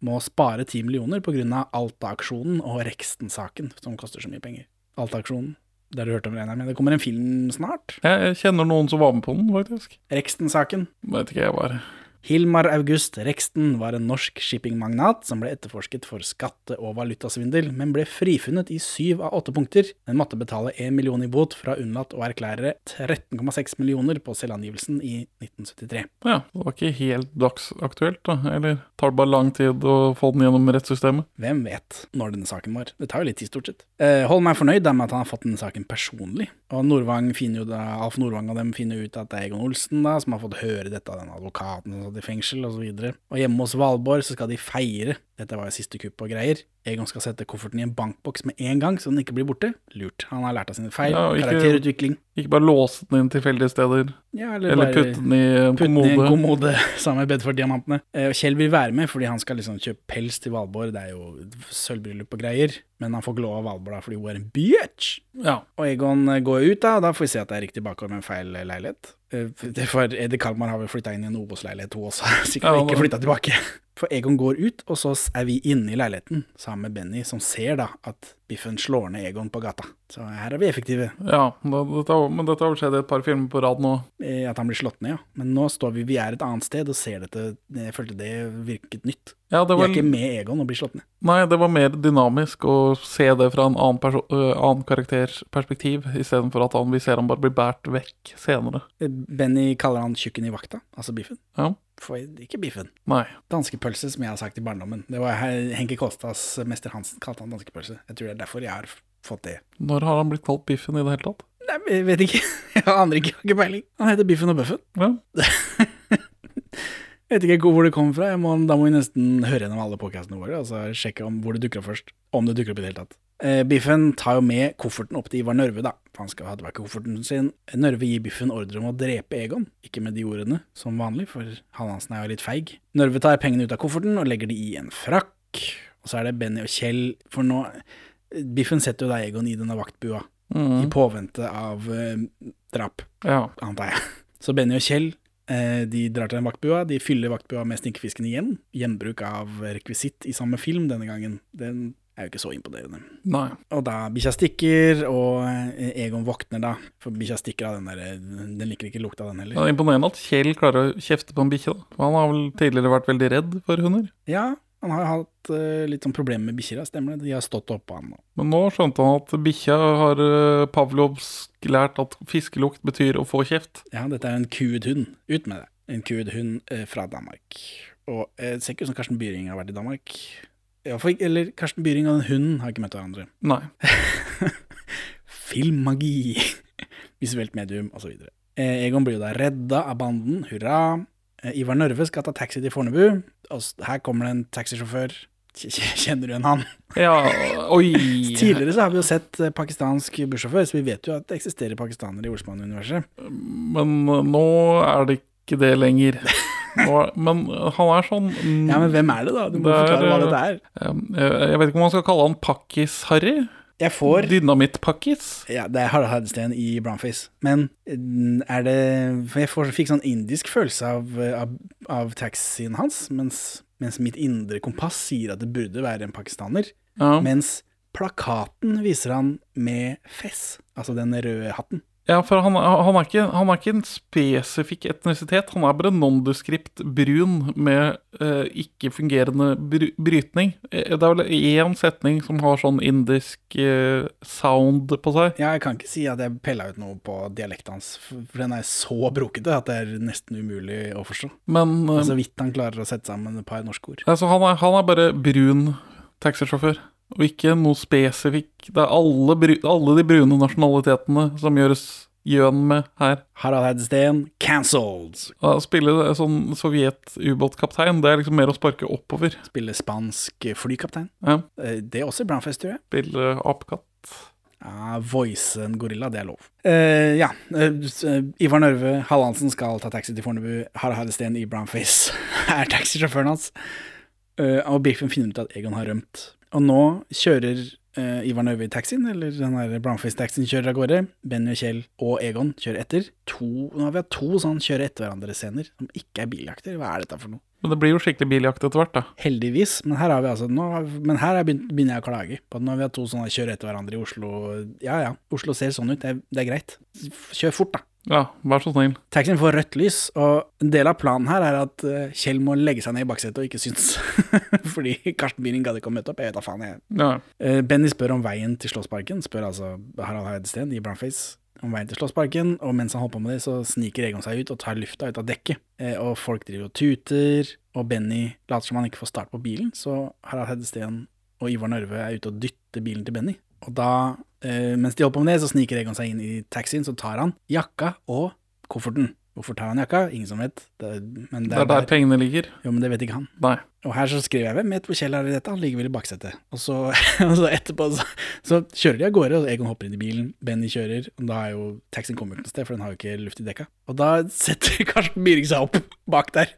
Speaker 1: må spare ti millioner på grunn av Alta-aksjonen og Reksten-saken, som koster så mye penger. Alta-aksjonen, det har du hørt om, regner jeg med. Det kommer en film snart.
Speaker 2: Jeg jeg kjenner noen som var med på den, faktisk.
Speaker 1: Reksten-saken.
Speaker 2: Vet ikke jeg bare.
Speaker 1: Hilmar August Reksten var en norsk shippingmagnat som ble etterforsket for skatte- og valutasvindel, men ble frifunnet i syv av åtte punkter, men måtte betale én million i bot for å ha unnlatt å erklære 13,6 millioner på selvangivelsen i 1973.
Speaker 2: Ja, Det var ikke helt dagsaktuelt, da. Eller tar det bare lang tid å få den gjennom rettssystemet?
Speaker 1: Hvem vet når denne saken var? Det tar jo litt tid, stort sett. Eh, Holm er fornøyd da med at han har fått denne saken personlig, og Nordvang finner jo da, Alf Nordvang og dem finner ut at det er Egon Olsen da, som har fått høre dette av den advokaten som satt i fengsel, og så videre. Og hjemme hos Valborg så skal de feire, dette var jo siste kupp og greier. Egon skal sette kofferten i en bankboks med en gang, så den ikke blir borte. Lurt. Han har lært av sine feil.
Speaker 2: Ja, og ikke-
Speaker 1: Karakterutvikling.
Speaker 2: Ikke bare låse den inn tilfeldige steder,
Speaker 1: Ja,
Speaker 2: eller
Speaker 1: bare-
Speaker 2: putte den i en
Speaker 1: Putte den i en
Speaker 2: kommode.
Speaker 1: kommode [LAUGHS] sammen med Bedford-diamantene. Eh, og Kjell vil være med fordi han skal liksom kjøpe pels til Valborg, det er jo sølvbryllup og greier. Men han får ikke lov av Valborg da, fordi hun er en bitch.
Speaker 2: Ja.
Speaker 1: Og Egon eh, går ut, da, og da får vi se at det er riktig bakgård med en feil eh, leilighet. Eh, det- For Eddie Kalmar har vel flytta inn i en Obos-leilighet, hun også. [LAUGHS] Sikkert
Speaker 2: Ja,
Speaker 1: ikke
Speaker 2: men-
Speaker 1: flytta tilbake. [LAUGHS] For Egon går ut, og så er vi inne i leiligheten sammen med Benny, som ser da at Biffen slår ned Egon på gata. Så her er vi effektive.
Speaker 2: Ja, da, dette, har- men dette har vel skjedd i et par filmer på rad nå.
Speaker 1: Eh, At han blir slått ned, ja. Men nå står vi, vi er et annet sted og ser dette. Jeg følte det virket nytt.
Speaker 2: Ja, det
Speaker 1: Vi
Speaker 2: var,
Speaker 1: er ikke med Egon og blir slått ned.
Speaker 2: nei, det var mer dynamisk å se det fra en annen, perso- øh, annen karakters perspektiv, istedenfor at han, vi ser han bare blir båret vekk senere.
Speaker 1: Eh, Benny kaller han tjukken i vakta, altså biffen.
Speaker 2: Ja.
Speaker 1: For ikke biffen.
Speaker 2: Nei.
Speaker 1: Danskepølse, som jeg har sagt i barndommen. Det var He- Henke Kolstads Mester Hansen kalte han danskepølse. Jeg tror det er derfor jeg har f- fått det.
Speaker 2: Når har han blitt kalt Biffen i det hele tatt?
Speaker 1: Nei, men jeg vet ikke. [LAUGHS] Jeg aner ikke, jeg har ikke peiling. Han heter Biffen og Bøffen.
Speaker 2: Ja.
Speaker 1: [LAUGHS] Jeg vet ikke hvor det kom fra. Jeg må, da må vi nesten høre gjennom alle podcastene våre og så sjekke om hvor det dukker opp først. Om det dukker opp i det hele tatt. Eh, Biffen tar jo med kofferten opp til Ivar Nørve, da. For han skal ha tilbake kofferten sin. Nørve gir Biffen ordre om å drepe Egon. Ikke med de ordene, som vanlig, for han Hansen er jo litt feig. Nørve tar pengene ut av kofferten og legger de i en frakk. Og så er det Benny og Kjell, for nå Biffen setter jo da Egon i denne vaktbua, i
Speaker 2: Mm.
Speaker 1: påvente av eh, drap
Speaker 2: ja.
Speaker 1: antar jeg. [LAUGHS] Så Benny og Kjell eh, de drar til den vaktbua. De fyller vaktbua med snikkfisken igjen. Gjenbruk av rekvisitt i samme film denne gangen. Den er jo ikke så imponerende.
Speaker 2: Nei.
Speaker 1: Og da bikkja stikker, og eh, Egon våkner da. For bikkja stikker av den der eh, Den liker ikke lukta, av den
Speaker 2: Det
Speaker 1: heller.
Speaker 2: er imponerende at Kjell klarer å kjefte på en bikkje. da. For Han har vel tidligere vært veldig redd for hunder.
Speaker 1: Ja, han har jo hatt eh, litt sånn problemer med bikkjer, ja, stemmer det. De har stått oppå han. og-
Speaker 2: Men nå skjønte han at bikkja har eh, Pavlovsk lært at fiskelukt betyr å få kjeft.
Speaker 1: Ja, dette er en kuet hund. Ut med det. En kuet hund eh, fra Danmark. Og eh, det ser ikke ut som Karsten Byring har vært i Danmark. Ja, for, eller Karsten Byring og den hunden har ikke møtt hverandre. [LAUGHS]
Speaker 2: Nei.
Speaker 1: Filmmagi, [LAUGHS] visuelt medium osv. Eh, Egon blir jo da redda av banden, hurra. Eh, Ivar Nørve skal ta taxi til Fornebu. Og s- her kommer det en taxisjåfør. [LAUGHS] K- k- Kjenner du igjen han?
Speaker 2: Ja,
Speaker 1: [LAUGHS]
Speaker 2: oi.
Speaker 1: Tidligere så har vi jo sett eh, pakistansk bussjåfør, så vi vet jo at det eksisterer pakistanere i Olsmann-universet.
Speaker 2: Men eh, nå er det ikke det
Speaker 1: [LAUGHS]
Speaker 2: lenger. Nå, er- men eh, han er sånn mm,
Speaker 1: Ja, men hvem er det, da? Du må
Speaker 2: Det er,
Speaker 1: forklare hva
Speaker 2: eh,
Speaker 1: dette er.
Speaker 2: eh, Jeg vet ikke om man skal kalle han Pakkis-Harry.
Speaker 1: Jeg får
Speaker 2: Dynamitt-Pakkis.
Speaker 1: Ja, det er Harald Heidesteen i Brownface. Men eh, er det For jeg får, fikk sånn indisk følelse av, eh, av, av taxien hans, mens, mens mitt indre kompass sier at det burde være en pakistaner.
Speaker 2: Ja.
Speaker 1: Mens plakaten viser han med fess, altså den røde hatten.
Speaker 2: ja, for han, han, er ikke, han er ikke en spesifikk etnisitet. Han er bare nondescript brun med eh, ikke-fungerende bry brytning. Eh, Det er vel én setning som har sånn indisk eh, sound på seg.
Speaker 1: Ja, jeg kan ikke si at jeg pella ut noe på dialekten hans, for for den er så brokete at det er nesten umulig å forstå.
Speaker 2: Men eh,
Speaker 1: Så vidt han klarer å sette sammen et par norske ord.
Speaker 2: altså, han, er, han er bare brun taxisjåfør. Og ikke noe spesifikk. Det er alle, bru alle de brune nasjonalitetene som gjøres gjøn med her.
Speaker 1: Harald Heidesteen, cancelled!
Speaker 2: Å spille sånn sovjet-ubåtkaptein, det er liksom mer å sparke oppover.
Speaker 1: Spiller spansk flykaptein.
Speaker 2: Ja.
Speaker 1: Eh, Det er også i Brownface, tror jeg.
Speaker 2: spille apekatt.
Speaker 1: Ja, voice en gorilla, det er lov. Eh, ja. eh, s- eh, Ivar Nørve Hallandsen skal ta taxi til Fornebu. Harald Heidesteen i brownface [LAUGHS] er taxisjåføren hans. Eh, og Biffen finner ut at Egon har rømt. Og nå kjører eh, Ivar Nørve i taxien, eller den her brownface-taxien kjører av gårde. Benny og Kjell og Egon kjører etter. To, nå har vi hatt to sånn kjøre etter hverandre-scener som ikke er biljakter. Hva er dette for noe?
Speaker 2: Men det blir jo skikkelig biljakt etter hvert, da.
Speaker 1: Heldigvis, men her, har vi altså, nå, har vi- men her er begynt, begynner jeg å klage. På at nå har vi hatt to sånne kjøre etter hverandre i Oslo. Ja ja, Oslo ser sånn ut, det er, det er greit. Kjør fort, da.
Speaker 2: Ja, vær så snill.
Speaker 1: Taxien får rødt lys, og en del av planen her er at eh, Kjell må legge seg ned i baksetet og ikke synes. [LAUGHS] Fordi Karsten Byring gadd ikke å møte opp. Jeg vet da faen, jeg.
Speaker 2: Ja.
Speaker 1: Eh, Benny spør om veien til Slåssparken, spør altså Harald Heidesteen i Brownface om veien til Slåssparken, og mens han holder på med det, så sniker Egon seg ut og tar lufta ut av dekket. Eh, Og folk driver og tuter, og Benny later som han ikke får start på bilen, så Harald Heidesteen og Ivar Nørve er ute og dytter bilen til Benny. Og da, eh, mens de holder på med det, så sniker Egon seg inn i taxien, så tar han jakka og kofferten. Hvorfor tar han jakka? Ingen som vet. Det, men
Speaker 2: Det er der pengene ligger.
Speaker 1: Jo, men det vet ikke han.
Speaker 2: Nei.
Speaker 1: Og her så skriver jeg hvem vet hvor Kjell er i dette, han ligger vel i baksetet. Og så, [LAUGHS] og så etterpå så, så kjører de av gårde, og Egon hopper inn i bilen, Benny kjører, og da er jo taxien kommer jo ikke noe sted, for den har jo ikke luft i dekka. Og da setter [LAUGHS] Karsten Byring seg opp bak der.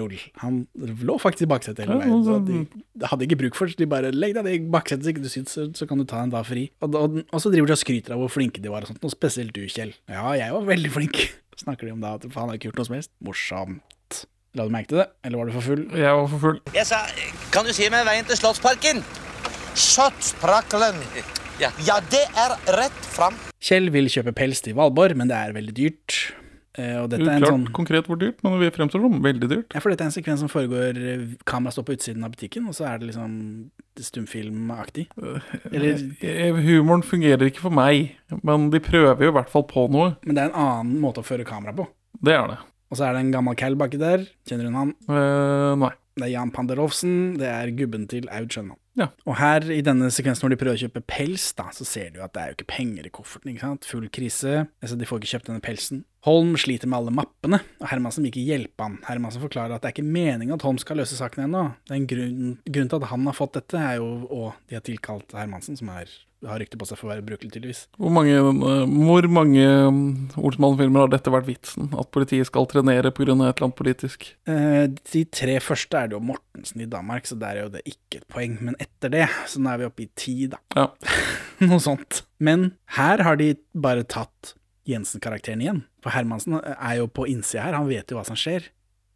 Speaker 1: Lol. Han lå faktisk i baksetet hele
Speaker 2: Ja,
Speaker 1: veien, så
Speaker 2: altså-
Speaker 1: de, de hadde ikke bruk for det, så de bare legg deg ned i baksetet, så ikke du syns, så, så kan du ta en dag fri. Og, da- og, den- og så driver de og skryter av hvor flinke de var og sånt, og spesielt du, Kjell. Ja, jeg var veldig flink, [LAUGHS] snakker de om da, at faen, han har ikke gjort noe som helst. Morsomt. La du merke til det, eller var du for full?
Speaker 2: Jeg var for full.
Speaker 3: Jeg sa, kan du si meg veien til Slottsparken?
Speaker 6: Shotsprakkelen.
Speaker 3: Ja.
Speaker 6: Ja, det er rett fram.
Speaker 1: Kjell vil kjøpe pels til Valborg, men det er veldig dyrt. Eh, Og dette er en
Speaker 2: Uklart
Speaker 1: sånn
Speaker 2: konkret hvor dyrt, men vi fremstår som veldig dyrt.
Speaker 1: ja, for dette er en sekvens som foregår eh, Kamera står på utsiden av butikken, og så er det liksom stumfilmaktig. Eller,
Speaker 2: Eh, Humoren fungerer ikke for meg, men de prøver jo i hvert fall på noe.
Speaker 1: men det er en annen måte å føre kamera på.
Speaker 2: Det er det.
Speaker 1: Og så er det en gammel cal baki der. Kjenner hun han?
Speaker 2: Eh, nei.
Speaker 1: Det er Jan Panderovsen. Det er gubben til Aud Schønmann.
Speaker 2: Ja.
Speaker 1: Og her i denne sekvensen hvor de prøver å kjøpe pels, da, så ser du jo at det er jo ikke penger i kofferten. ikke sant? Full krise. Altså, de får ikke kjøpt denne pelsen. Holm sliter med alle mappene, og Hermansen vil ikke hjelpe han. Hermansen forklarer at det er ikke meningen at Holm skal løse saken ennå. Den grunnen, grunnen til at han har fått dette, er jo og de har tilkalt Hermansen, som er, har rykte på seg for å være brukelig, tydeligvis.
Speaker 2: Hvor mange, eh, hvor mange eh, Olsenmann-filmer har dette vært vitsen? At politiet skal trenere pga. et eller annet politisk?
Speaker 1: Eh, De tre første er det jo Mortensen i Danmark, så der er jo det ikke et poeng. Men etter det, så nå er vi oppe i ti, da.
Speaker 2: Ja.
Speaker 1: [LAUGHS] Noe sånt. Men her har de bare tatt Jensen-karakteren igjen. For Hermansen er jo på innsida her, han vet jo hva som skjer.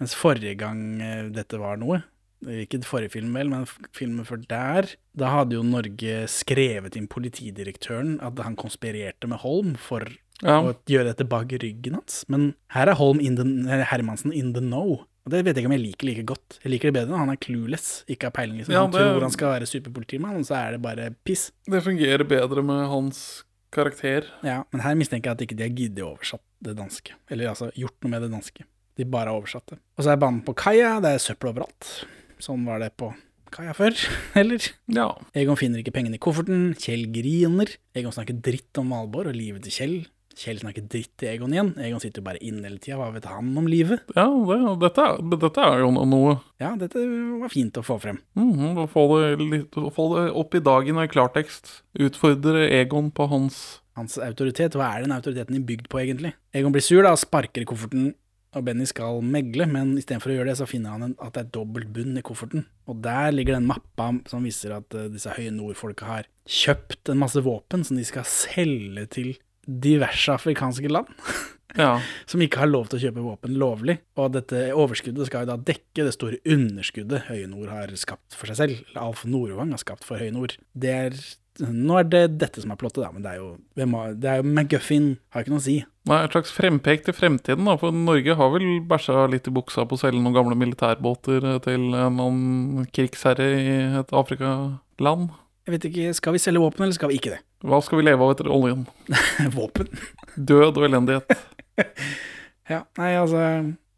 Speaker 1: Mens forrige gang eh, dette var noe, ikke forrige film vel, men f- filmen før der, da hadde jo Norge skrevet inn politidirektøren at han konspirerte med Holm for
Speaker 2: Ja.
Speaker 1: å gjøre dette bak ryggen hans. Men her er Holm in the, eller Hermansen in the know. Og Det vet jeg ikke om jeg liker like godt. Jeg liker det bedre når han er clueless. Ikke har peiling. Liksom.
Speaker 2: Ja,
Speaker 1: han
Speaker 2: det-
Speaker 1: tror han skal være superpolitimann, og så er det bare piss.
Speaker 2: Det fungerer bedre med hans karakter.
Speaker 1: Ja, Men her mistenker jeg at ikke de har giddet å oversatt det danske. Eller altså gjort noe med det danske. De bare har oversatt det. Og så er banen på kaia, det er søppel overalt. Sånn var det på kaia før, [LAUGHS] eller?
Speaker 2: Ja.
Speaker 1: Egon finner ikke pengene i kofferten, Kjell griner, Egon snakker dritt om Valborg og livet til Kjell. Kjell snakker dritt til Egon igjen, Egon sitter jo bare inne hele tida, hva vet han om livet?
Speaker 2: ja det, dette, er- dette er jo no- noe.
Speaker 1: Ja, dette var fint å få frem.
Speaker 2: Mhm, å, få det litt, å få det opp i dagen og i klartekst. Utfordre Egon på hans
Speaker 1: Hans autoritet, hva er den autoriteten de er bygd på egentlig? Egon blir sur da, og sparker i kofferten, og Benny skal megle, men istedenfor å gjøre det, så finner han en, at det er dobbelt bunn i kofferten. Og der ligger den mappa som viser at eh, disse høye nordfolka har kjøpt en masse våpen som de skal selge til diverse afrikanske land.
Speaker 2: Ja.
Speaker 1: som ikke har lov til å kjøpe våpen lovlig. Og dette overskuddet skal jo da dekke det store underskuddet Høye Nord har skapt for seg selv. Alf Nordvang har skapt for Høye Nord. Det er, nå er det dette som er plottet, da, men det er jo, hvem har- det er jo McGuffin, har ikke noe å si.
Speaker 2: Nei, et slags frempek til fremtiden, da. For Norge har vel bæsja litt i buksa på å selge noen gamle militærbåter eh, til en eller annen krigsherre i et Afrikaland.
Speaker 1: Jeg vet ikke, Skal vi selge våpen, eller skal vi ikke det? [LAUGHS]
Speaker 2: Hva skal vi leve av etter oljen?
Speaker 1: Våpen?
Speaker 2: Død og elendighet.
Speaker 1: Ja, nei, altså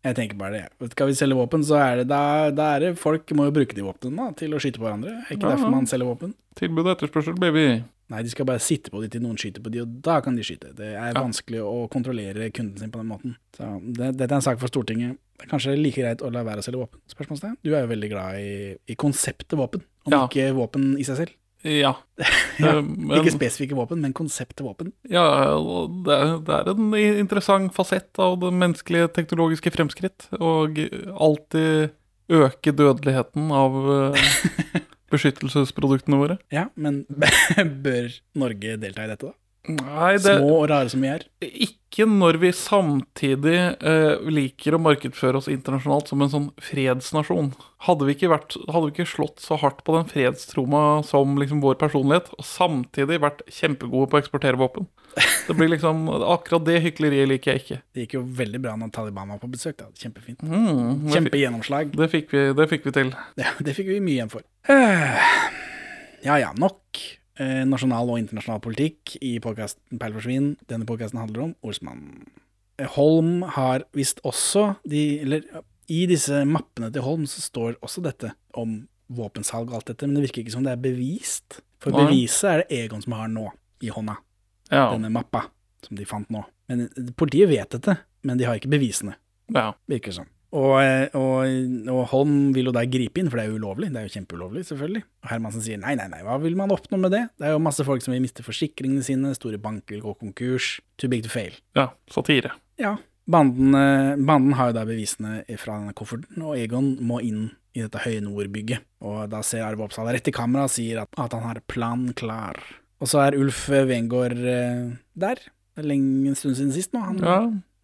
Speaker 1: Jeg tenker bare det. jeg. Skal vi selge våpen, så er det da, da er det Folk må jo bruke de våpnene da, til å skyte på hverandre. Er ikke
Speaker 2: Ja,
Speaker 1: derfor
Speaker 2: ja.
Speaker 1: man selger våpen?
Speaker 2: Tilbud og etterspørsel, baby.
Speaker 1: Nei, de skal bare sitte på de til noen skyter på de, og da kan de skyte. Det er
Speaker 2: Ja.
Speaker 1: vanskelig å kontrollere kunden sin på den måten. Så det, Dette er en sak for Stortinget. Det er kanskje like greit å la være å selge våpen? Spørsmålstegn. Du er jo veldig glad i, i konseptet våpen, om
Speaker 2: Ja.
Speaker 1: ikke våpen i seg selv.
Speaker 2: Ja.
Speaker 1: [LAUGHS] Ja,
Speaker 2: Eh, men-
Speaker 1: Ikke spesifikke våpen, men konseptet våpen.
Speaker 2: Ja, og det er, det er en i- interessant fasett av det menneskelige teknologiske fremskritt. Og alltid øke dødeligheten av [LAUGHS] eh, beskyttelsesproduktene våre.
Speaker 1: Ja, men [LAUGHS] bør Norge delta i dette, da?
Speaker 2: Nei, det
Speaker 1: Små og rare som vi er.
Speaker 2: Ikke når vi samtidig eh, liker å markedsføre oss internasjonalt som en sånn fredsnasjon. Hadde vi ikke, vært, hadde vi ikke slått så hardt på den fredstroma som liksom vår personlighet, og samtidig vært kjempegode på å eksportere våpen Det blir liksom, Akkurat det hykleriet liker jeg ikke.
Speaker 1: Det gikk jo veldig bra når Taliban var på besøk, da. Kjempefint.
Speaker 2: Mm, det fikk-
Speaker 1: Kjempegjennomslag.
Speaker 2: Det fikk, vi, det fikk vi til.
Speaker 1: [LAUGHS] Ja, det fikk vi mye igjen
Speaker 2: [SIGHS]
Speaker 1: for. Eh, Ja ja, nok eh, nasjonal og internasjonal politikk i podkasten Perl forsvinn. Denne podkasten handler om Olsmann. Eh, Holm har visst også de, Eller ja, i disse mappene til Holm så står også dette om våpensalg og alt dette, men det virker ikke som det er bevist. For
Speaker 2: Nei.
Speaker 1: beviset er det Egon som har nå, i hånda.
Speaker 2: Ja,
Speaker 1: Denne mappa som de fant nå. Men eh, Politiet vet dette, men de har ikke bevisene.
Speaker 2: ja.
Speaker 1: Virker sånn. Og, og, og Holm vil jo da gripe inn, for det er jo ulovlig. Det er jo kjempeulovlig, selvfølgelig. Og Hermansen sier nei, nei, nei, hva vil man oppnå med det? Det er jo masse folk som vil miste forsikringene sine, store banker vil gå konkurs. Too big to fail.
Speaker 2: ja satire.
Speaker 1: Ja. Banden, eh, banden har jo da bevisene fra denne kofferten, og Egon må inn i dette Høye Nord-bygget. Og da ser Arve Oppsal rett i kamera og sier at, at han har planen klar. Og så er Ulf Wengård eh, der. Det er lenge en stund siden sist nå. Han
Speaker 2: Ja,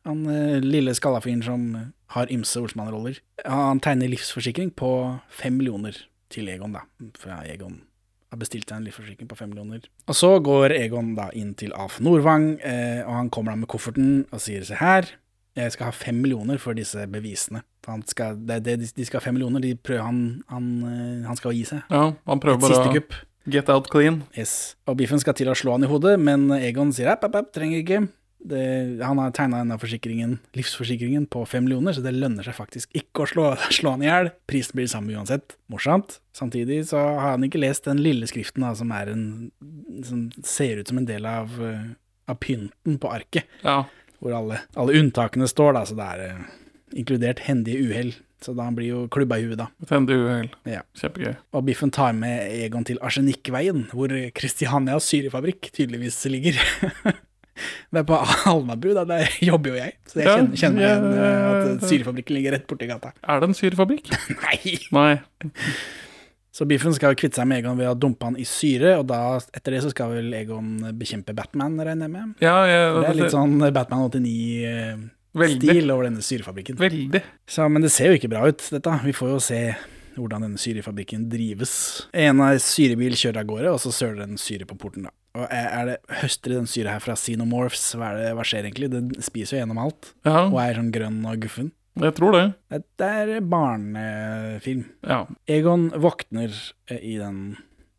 Speaker 1: han eh, lille skallafyren som eh, har ymse Olsmann-roller. Han tegner livsforsikring på fem millioner til Egon, da. For Egon har bestilt seg en livsforsikring på fem millioner. Og så går Egon da inn til Alf Nordvang, eh, og han kommer da med kofferten og sier se her, jeg skal ha fem millioner for disse bevisene. For Han skal, det, er det, de- de skal ha fem millioner, de prøver han, han, eh, han skal gi seg.
Speaker 2: ja han prøver
Speaker 1: Et
Speaker 2: bare
Speaker 1: siste
Speaker 2: å
Speaker 1: kupp.
Speaker 2: get out clean.
Speaker 1: Yes. Og Biffen skal til å slå han i hodet, men Egon sier app, app, app, trenger ikke. Det, han har tegna denne forsikringen, livsforsikringen på fem millioner, så det lønner seg faktisk ikke å slå, [LAUGHS] slå han i hjel. Prisen blir samme uansett. Morsomt. Samtidig så har han ikke lest den lille skriften da, som, er en, som ser ut som en del av, eh, av pynten på arket,
Speaker 2: Ja.
Speaker 1: hvor alle, alle unntakene står, da, så det er eh, inkludert hendige uhell. Så da han blir jo klubba i huet, da.
Speaker 2: Tende uhell.
Speaker 1: Ja.
Speaker 2: Kjempegøy.
Speaker 1: Og Biffen tar med Egon til Arsenikkveien, hvor Kristianias syrefabrikk tydeligvis ligger. [LAUGHS] det er på Alnabru, da. Der jobber jo jeg. Så jeg
Speaker 2: Ja,
Speaker 1: kjenner, kjenner meg
Speaker 2: ja,
Speaker 1: igjen eh,
Speaker 2: ja,
Speaker 1: at
Speaker 2: ja.
Speaker 1: syrefabrikken ligger rett borti gata. [LAUGHS]
Speaker 2: Er det en syrefabrikk?
Speaker 1: Nei!
Speaker 2: Nei.
Speaker 1: Så Biffen skal kvitte seg med Egon ved å dumpe han i syre, og da, etter det så skal vel Egon bekjempe Batman, regner jeg med.
Speaker 2: Ja, jeg,
Speaker 1: Det er litt sånn Batman 89-stil
Speaker 2: Veldig.
Speaker 1: over denne syrefabrikken.
Speaker 2: Veldig.
Speaker 1: Så, men det ser jo ikke bra ut, dette. Vi får jo se hvordan denne syrefabrikken drives. En av syrebil kjører av gårde, og så søler den syre på porten, da. Og er er det høster i den syre her fra Xenomorphs? Hva, er det, hva skjer egentlig? Den spiser jo gjennom alt,
Speaker 2: Ja,
Speaker 1: og er sånn grønn og guffen.
Speaker 2: jeg tror det.
Speaker 1: Dette er barnefilm.
Speaker 2: Ja.
Speaker 1: Egon våkner eh, i den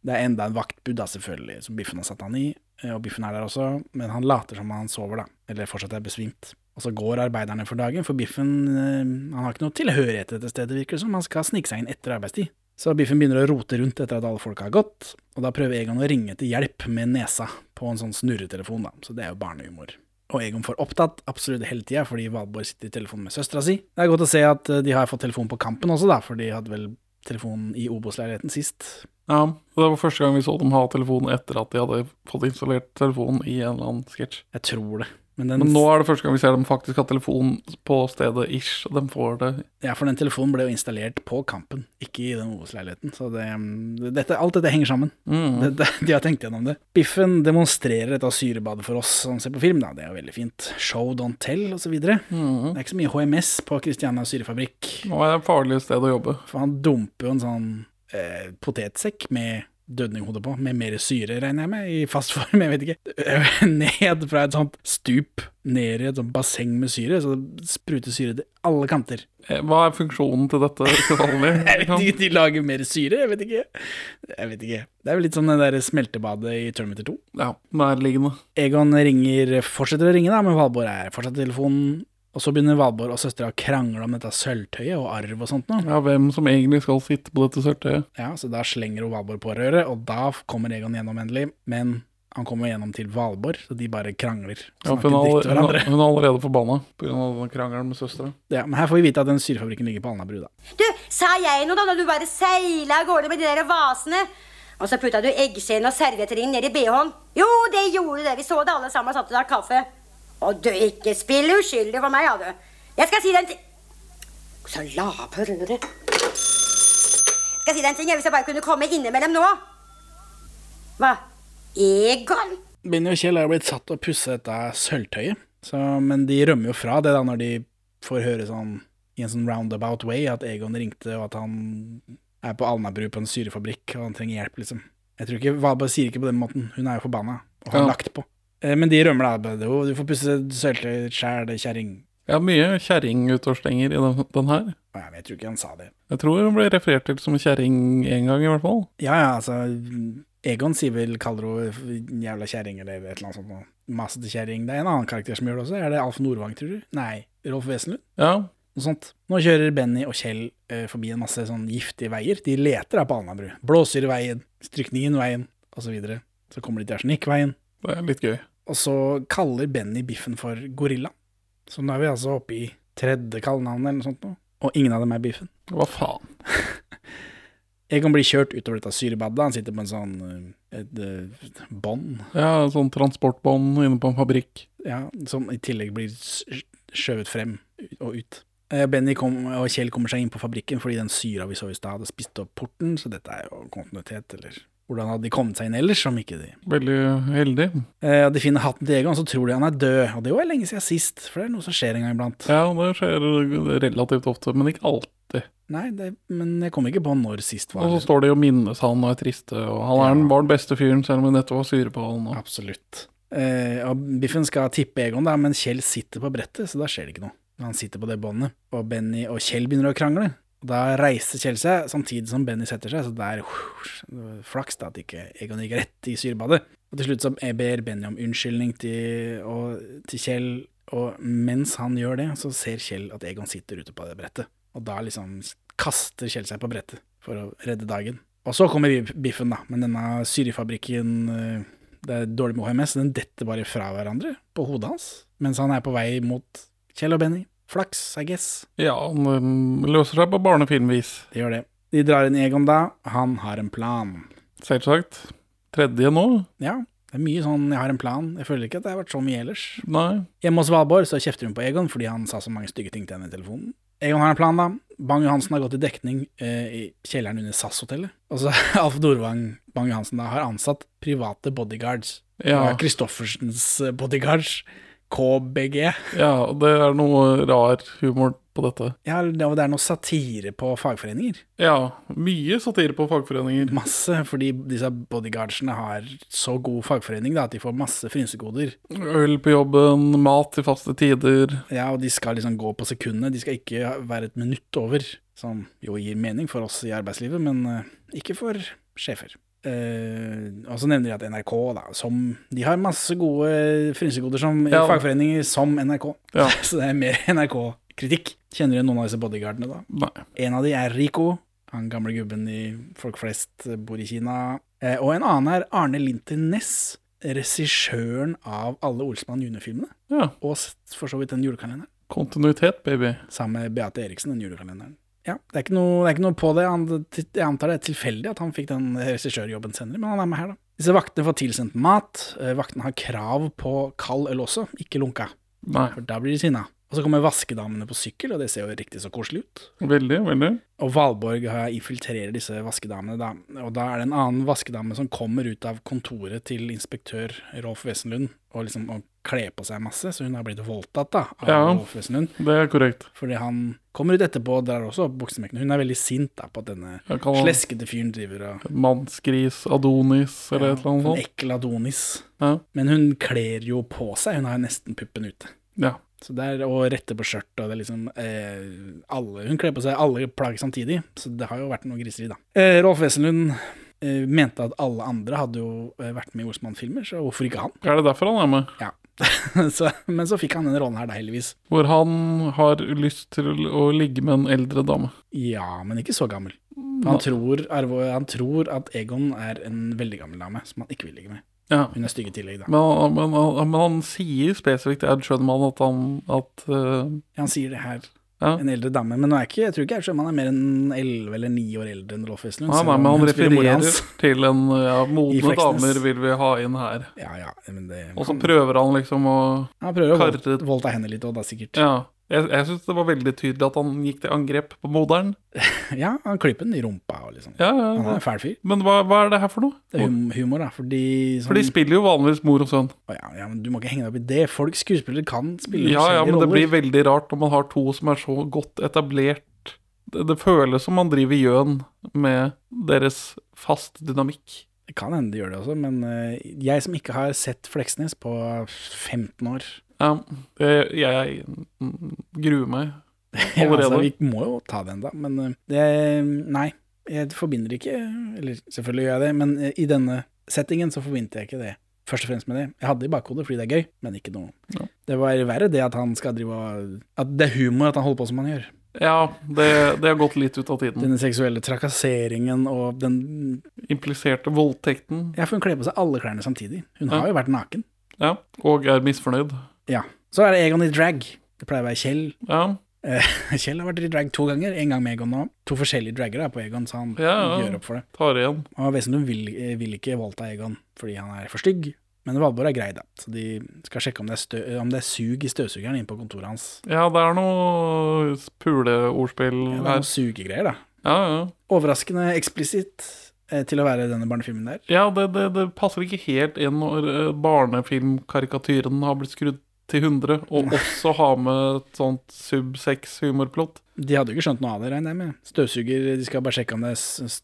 Speaker 1: Det er enda en vaktbud, da, selvfølgelig, som Biffen har satt han i. eh, Og Biffen er der også, men han later som han sover, da. Eller fortsatt er besvimt. Og så går arbeiderne for dagen, for Biffen eh, han har ikke noe tilhørighet til dette stedet, virker det som. Han skal snike seg inn etter arbeidstid. Så Biffen begynner å rote rundt etter at alle folka har gått, og da prøver Egon å ringe etter hjelp med nesa på en sånn snurretelefon, da. Så det er jo barnehumor. Og Egon får opptatt absolutt hele tida, fordi Valborg sitter i telefonen med søstera si. Det er godt å se at eh, de har fått telefon på Kampen også, da, for de hadde vel telefonen i Obos-leiligheten sist.
Speaker 2: ja. Og Det var første gang vi så dem ha telefon etter at de hadde fått installert telefonen i en eller annen sketsj.
Speaker 1: Jeg tror det. Men, den,
Speaker 2: Men nå er det første gang vi ser dem faktisk ha telefon på stedet ish. og De får det
Speaker 1: ja, for den telefonen ble jo installert på Kampen, ikke i den Obos-leiligheten. Så det, dette, alt dette henger sammen.
Speaker 2: mm.
Speaker 1: Det, [LAUGHS] det, de har tenkt gjennom det. Biffen demonstrerer dette syrebadet for oss som ser på film, da. Det er jo veldig fint. Show, don't tell, osv. videre
Speaker 2: Mhm.
Speaker 1: Det er ikke så mye HMS på Christiania syrefabrikk.
Speaker 2: Nå er det et farlig sted å jobbe.
Speaker 1: For han dumper jo en sånn eh, potetsekk med dødninghode på, med mer syre, regner jeg med, i fast [LAUGHS] form, jeg vet ikke, [LAUGHS] ned fra et sånt stup, ned i et sånt basseng med syre, så det spruter syre til alle kanter. [LAUGHS]
Speaker 2: Eh, Hva er funksjonen til dette til vanlig?
Speaker 1: Jeg vet ikke, [LAUGHS] de lager mer syre, jeg vet ikke. Jeg vet ikke. Det er vel litt sånn det der smeltebadet i Terminator 2.
Speaker 2: Ja, nærliggende.
Speaker 1: Egon ringer, fortsetter å ringe da, men Valborg er fortsatt i telefonen, og så begynner Valborg og søstera å krangle om dette sølvtøyet og arv og sånt nå.
Speaker 2: Ja, hvem som egentlig skal sitte på dette sørtøyet.
Speaker 1: Ja, så da slenger hun Valborg på røret, og da kommer Egon gjennom endelig. Men han kommer gjennom til Valborg, så de bare krangler.
Speaker 2: Ja,
Speaker 1: Snakker
Speaker 2: for hun,
Speaker 1: dritt til
Speaker 2: er all- hun,
Speaker 1: hverandre.
Speaker 2: er- hun er allerede forbanna pga. denne krangelen med søstera.
Speaker 1: Ja, men her får vi vite at den syrefabrikken ligger på Alnabru, da.
Speaker 9: Du, sa jeg noe da når du bare seila av gårde med de der vasene? Og så putta du eggskjeen og servietteringen ned i bh-en. Jo, det gjorde du det. Vi så det alle sammen og satt og drakk kaffe. Og du, ikke spill uskyldig for meg, ja, du. Jeg skal si deg en ting Så lapper du det. Skal si deg en ting, jeg, hvis jeg bare kunne komme innimellom nå. Hva? Egon?
Speaker 1: Benny og Kjell er jo blitt satt til å pusse dette sølvtøyet, så, men de rømmer jo fra det da når de får høre sånn i en sånn roundabout way at Egon ringte, og at han er på Alnabru på en syrefabrikk, og han trenger hjelp, liksom. Jeg tror ikke Valborg sier ikke på den måten. Hun er jo forbanna, og har
Speaker 2: Ja.
Speaker 1: lagt på. Eh, Men de rømmer da. bare, «Jo, Du får pusse sølvtøyet sjæl, kjerring.
Speaker 2: Ja, mye kjerringutårsstenger i den, den her.
Speaker 1: Nei, men jeg tror ikke han sa det.
Speaker 2: Jeg tror hun ble referert til som kjerring en gang, i hvert fall.
Speaker 1: Ja, ja, altså Egon sier vel, kaller henne jævla kjerring eller et eller annet sånt. noe. Masete kjerring. Det er en annen karakter som gjør det også. Er det Alf Nordvang, tror du? Nei, Rolf Wesenlund?
Speaker 2: Ja,
Speaker 1: Noe sånt. Nå kjører Benny og Kjell eh, forbi en masse sånn giftige veier. De leter da på Alnabru. Blåsyreveien, Strykningenveien, osv. Så, videre. så kommer de til Arsenikkveien.
Speaker 2: det er litt gøy.
Speaker 1: Og så kaller Benny Biffen for Gorilla. Så nå er vi altså oppe i tredje kallenavn eller noe sånt nå. Og ingen av dem er Biffen.
Speaker 2: Hva faen?
Speaker 1: Egon blir kjørt utover dette syrebadet. Han sitter på en sånn eh, et, eh, bånd,
Speaker 2: Ja, sånn transportbånd inne på en fabrikk.
Speaker 1: ja, som i tillegg blir s- skjøvet frem og ut. Eh, Benny kom, og Kjell kommer seg inn på fabrikken fordi den syra vi så i stad, hadde spist opp porten, så dette er jo kontinuitet, eller hvordan hadde de kommet seg inn ellers, om ikke de
Speaker 2: Veldig heldig.
Speaker 1: eh, De finner hatten til Egon, så tror de han er død, og det var lenge siden sist, for det er noe som skjer en gang iblant.
Speaker 2: Ja, det skjer relativt ofte, men ikke alltid.
Speaker 1: Nei, det, men jeg kommer ikke på når sist var. liksom.
Speaker 2: Og så står det jo 'minnes han' og er triste, og han er den, var den beste fyren, selv om vi nettopp var sure på han. Og.
Speaker 1: Absolutt. Eh, og Biffen skal tippe Egon, da, men Kjell sitter på brettet, så da skjer det ikke noe. Han sitter på det båndet, og Benny og Kjell begynner å krangle. Og Da reiser Kjell seg samtidig som Benny setter seg, så det er uh, flaks da at ikke Egon gikk rett i syrebadet. Og til slutt så ber Benny om unnskyldning til, og, til Kjell, og mens han gjør det, så ser Kjell at Egon sitter ute på det brettet. Og da liksom kaster Kjell seg på brettet for å redde dagen. Og så kommer bi- biffen, da. Men denne syrefabrikken eh, Det er dårlig med HMS, så den detter bare fra hverandre på hodet hans. Mens han er på vei mot Kjell og Benny. Flaks, I guess.
Speaker 2: Ja, han øhm, løser seg på barnefilmvis,
Speaker 1: Det gjør det. De drar inn Egon da. Han har en plan.
Speaker 2: selvsagt. Tredje nå?
Speaker 1: Ja, det er mye sånn 'jeg har en plan'. Jeg føler ikke at det har vært så mye ellers.
Speaker 2: Nei.
Speaker 1: Hjemme hos Valborg så kjefter hun på Egon fordi han sa så mange stygge ting til henne i telefonen. Egon har en plan, da. Bang Johansen har gått i dekning eh, i kjelleren under SAS-hotellet. Og så [LAUGHS] Alf Dorvang Bang Johansen da har ansatt private bodyguards.
Speaker 2: Ja.
Speaker 1: Det er Christoffersens eh, bodyguards. KBG.
Speaker 2: Ja, det er noe rar humor på dette.
Speaker 1: Ja, det og det er noe satire på fagforeninger.
Speaker 2: Ja, mye satire på fagforeninger.
Speaker 1: Masse, fordi disse bodyguardsene har så god fagforening da, at de får masse frynsegoder.
Speaker 2: Øl på jobben, mat til faste tider.
Speaker 1: Ja, og de skal liksom gå på sekundet, de skal ikke være et minutt over, som jo gir mening for oss i arbeidslivet, men eh, ikke for sjefer. Eh, og så nevner de at NRK, da, som De har masse gode frynsegoder som i
Speaker 2: Ja.
Speaker 1: fagforeninger som NRK,
Speaker 2: Ja.
Speaker 1: [LAUGHS] så det er mer NRK-kritikk. Kjenner du noen av disse bodyguardene, da?
Speaker 2: Nei.
Speaker 1: En av de er Rico, han gamle gubben i Folk flest bor i Kina. Eh, og en annen er Arne Linter Næss, regissøren av alle Olsmann junior-filmene.
Speaker 2: Ja.
Speaker 1: Og s- for så vidt den julekalenderen.
Speaker 2: Kontinuitet, baby.
Speaker 1: Sammen med Beate Eriksen, den julekalenderen. Ja, det er, ikke noe, det er ikke noe på det. Han, jeg antar det er tilfeldig at han fikk den regissørjobben senere, men han er med her, da. Disse vaktene får tilsendt mat. Eh, Vaktene har krav på kald øl også, ikke lunka,
Speaker 2: Nei.
Speaker 1: for da blir de sinna. Og så kommer vaskedamene på sykkel, og det ser jo riktig så koselig ut.
Speaker 2: Veldig, veldig.
Speaker 1: Og Valborg har- infiltrerer disse vaskedamene, da. Og da er det en annen vaskedame som kommer ut av kontoret til inspektør Rolf Wesenlund og liksom og kler på seg masse, så hun har blitt voldtatt da, av
Speaker 2: Ja.
Speaker 1: Rolf Wesenlund.
Speaker 2: Det er korrekt.
Speaker 1: Fordi han kommer ut etterpå og drar også opp buksemekkene. Hun er veldig sint da på at denne
Speaker 2: Jeg kaller han
Speaker 1: sleskete fyren driver og
Speaker 2: mannsgris, adonis eller et eller
Speaker 1: En
Speaker 2: annet sånt.
Speaker 1: ekkel Adonis.
Speaker 2: Ja.
Speaker 1: Men hun kler jo på seg, hun har jo nesten puppen ute.
Speaker 2: ja.
Speaker 1: Så det er å rette på skjørt, og det er liksom eh, alle, Hun kler på seg alle plagg samtidig, så det har jo vært noe griseri, da. Eh, Rolf Wesenlund eh, mente at alle andre hadde jo eh, vært med i Olsmann-filmer, så hvorfor ikke han?
Speaker 2: Er det derfor han er med?
Speaker 1: Ja. [LAUGHS] så, men så fikk han denne rollen her, da, heldigvis.
Speaker 2: Hvor han har lyst til å ligge med en eldre dame.
Speaker 1: Ja, men ikke så gammel. For Han tror, Arvo, han tror at Egon er en veldig gammel dame som han ikke vil ligge med.
Speaker 2: Ja.
Speaker 1: Hun er stygg i tillegg, da.
Speaker 2: Men, han- men, han- men han sier spesifikt til Ed Schønemann at han at, eh,
Speaker 1: Ja, han sier det her.
Speaker 2: ja.
Speaker 1: En eldre dame. Men nå er ikke, jeg tror ikke jeg skjønner om han er mer enn 11 eller 9 år eldre enn Rolf Wesenlund.
Speaker 2: Nei,
Speaker 1: selv
Speaker 2: nei,
Speaker 1: om
Speaker 2: men han
Speaker 1: hun spiller mora
Speaker 2: refererer
Speaker 1: hans.
Speaker 2: til
Speaker 1: [LAUGHS]
Speaker 2: en ja, modne
Speaker 1: Fleksnes.
Speaker 2: damer vil vi ha inn her.
Speaker 1: Ja, ja, men det
Speaker 2: Og så prøver han liksom å
Speaker 1: Han prøver å
Speaker 2: Karret.
Speaker 1: vold- voldta henne litt òg, da, sikkert. [LAUGHS] Ja.
Speaker 2: Ja. Jeg, jeg syns det var veldig tydelig at han gikk til angrep på moderen.
Speaker 1: han klipper den i rumpa og liksom.
Speaker 2: Ja, ja,
Speaker 1: Han er
Speaker 2: ja.
Speaker 1: en fæl fyr.
Speaker 2: Men hva, hva er det her for noe?
Speaker 1: Det er hum humor, da, fordi sånn,
Speaker 2: For de spiller jo vanligvis mor og sønn.
Speaker 1: Å, ja, ja, men Du må ikke henge deg opp i det. Folk skuespillere kan spille
Speaker 2: Ja,
Speaker 1: forskjellige
Speaker 2: ja, men det blir
Speaker 1: roller.
Speaker 2: veldig rart når man har to som er så godt etablert. Det, det føles som man driver gjøn med deres fast dynamikk.
Speaker 1: Det kan hende de gjør det også, men eh, jeg som ikke har sett Fleksnes på 15 år
Speaker 2: Ja, jeg, jeg mm, gruer meg.
Speaker 1: [LAUGHS] Ja,
Speaker 2: Allerede.
Speaker 1: altså, vi må jo ta den, da. Men eh, det Nei, jeg forbinder ikke Eller selvfølgelig gjør jeg det, men eh, i denne settingen så forbinder jeg ikke det. Først og fremst med det. Jeg hadde det i bakhodet fordi det er gøy, men ikke noe.
Speaker 2: Ja.
Speaker 1: Det var verre det at han skal drive og At det er humor at han holder på som han gjør.
Speaker 2: Ja, det, det har gått litt ut av tiden.
Speaker 1: Denne seksuelle trakasseringen og den
Speaker 2: Impliserte voldtekten.
Speaker 1: Ja, for hun kler på seg alle klærne samtidig. Hun
Speaker 2: Ja.
Speaker 1: har jo vært naken.
Speaker 2: Ja, og er misfornøyd.
Speaker 1: Ja. Så er det Egon i drag. Det pleier å være Kjell.
Speaker 2: Ja,
Speaker 1: Eh, [LAUGHS] Kjell har vært i drag to ganger. En gang med Egon nå. To forskjellige dragger er på Egon, så han
Speaker 2: Ja, ja.
Speaker 1: gjør opp for det.
Speaker 2: tar igjen.
Speaker 1: Og Wesenlund vil, eh, vil ikke voldta Egon fordi han er for stygg, men Valborg er grei, da. Så de skal sjekke om det er, stø om det er sug i støvsugeren inne på kontoret hans.
Speaker 2: Ja, det er noe puleordspill
Speaker 1: Ja, det er
Speaker 2: her.
Speaker 1: noen sugegreier, da.
Speaker 2: Ja, ja.
Speaker 1: Overraskende eksplisitt eh, til å være denne barnefilmen der.
Speaker 2: ja det, det, det passer ikke helt inn når eh, barnefilmkarikatyren har blitt skrudd til 100,
Speaker 1: [LAUGHS]
Speaker 2: og også ha med et sånt sub-6-humorplott.
Speaker 1: De hadde jo ikke skjønt noe av det, regner jeg med. Støvsuger, de skal bare sjekke om det er s- s-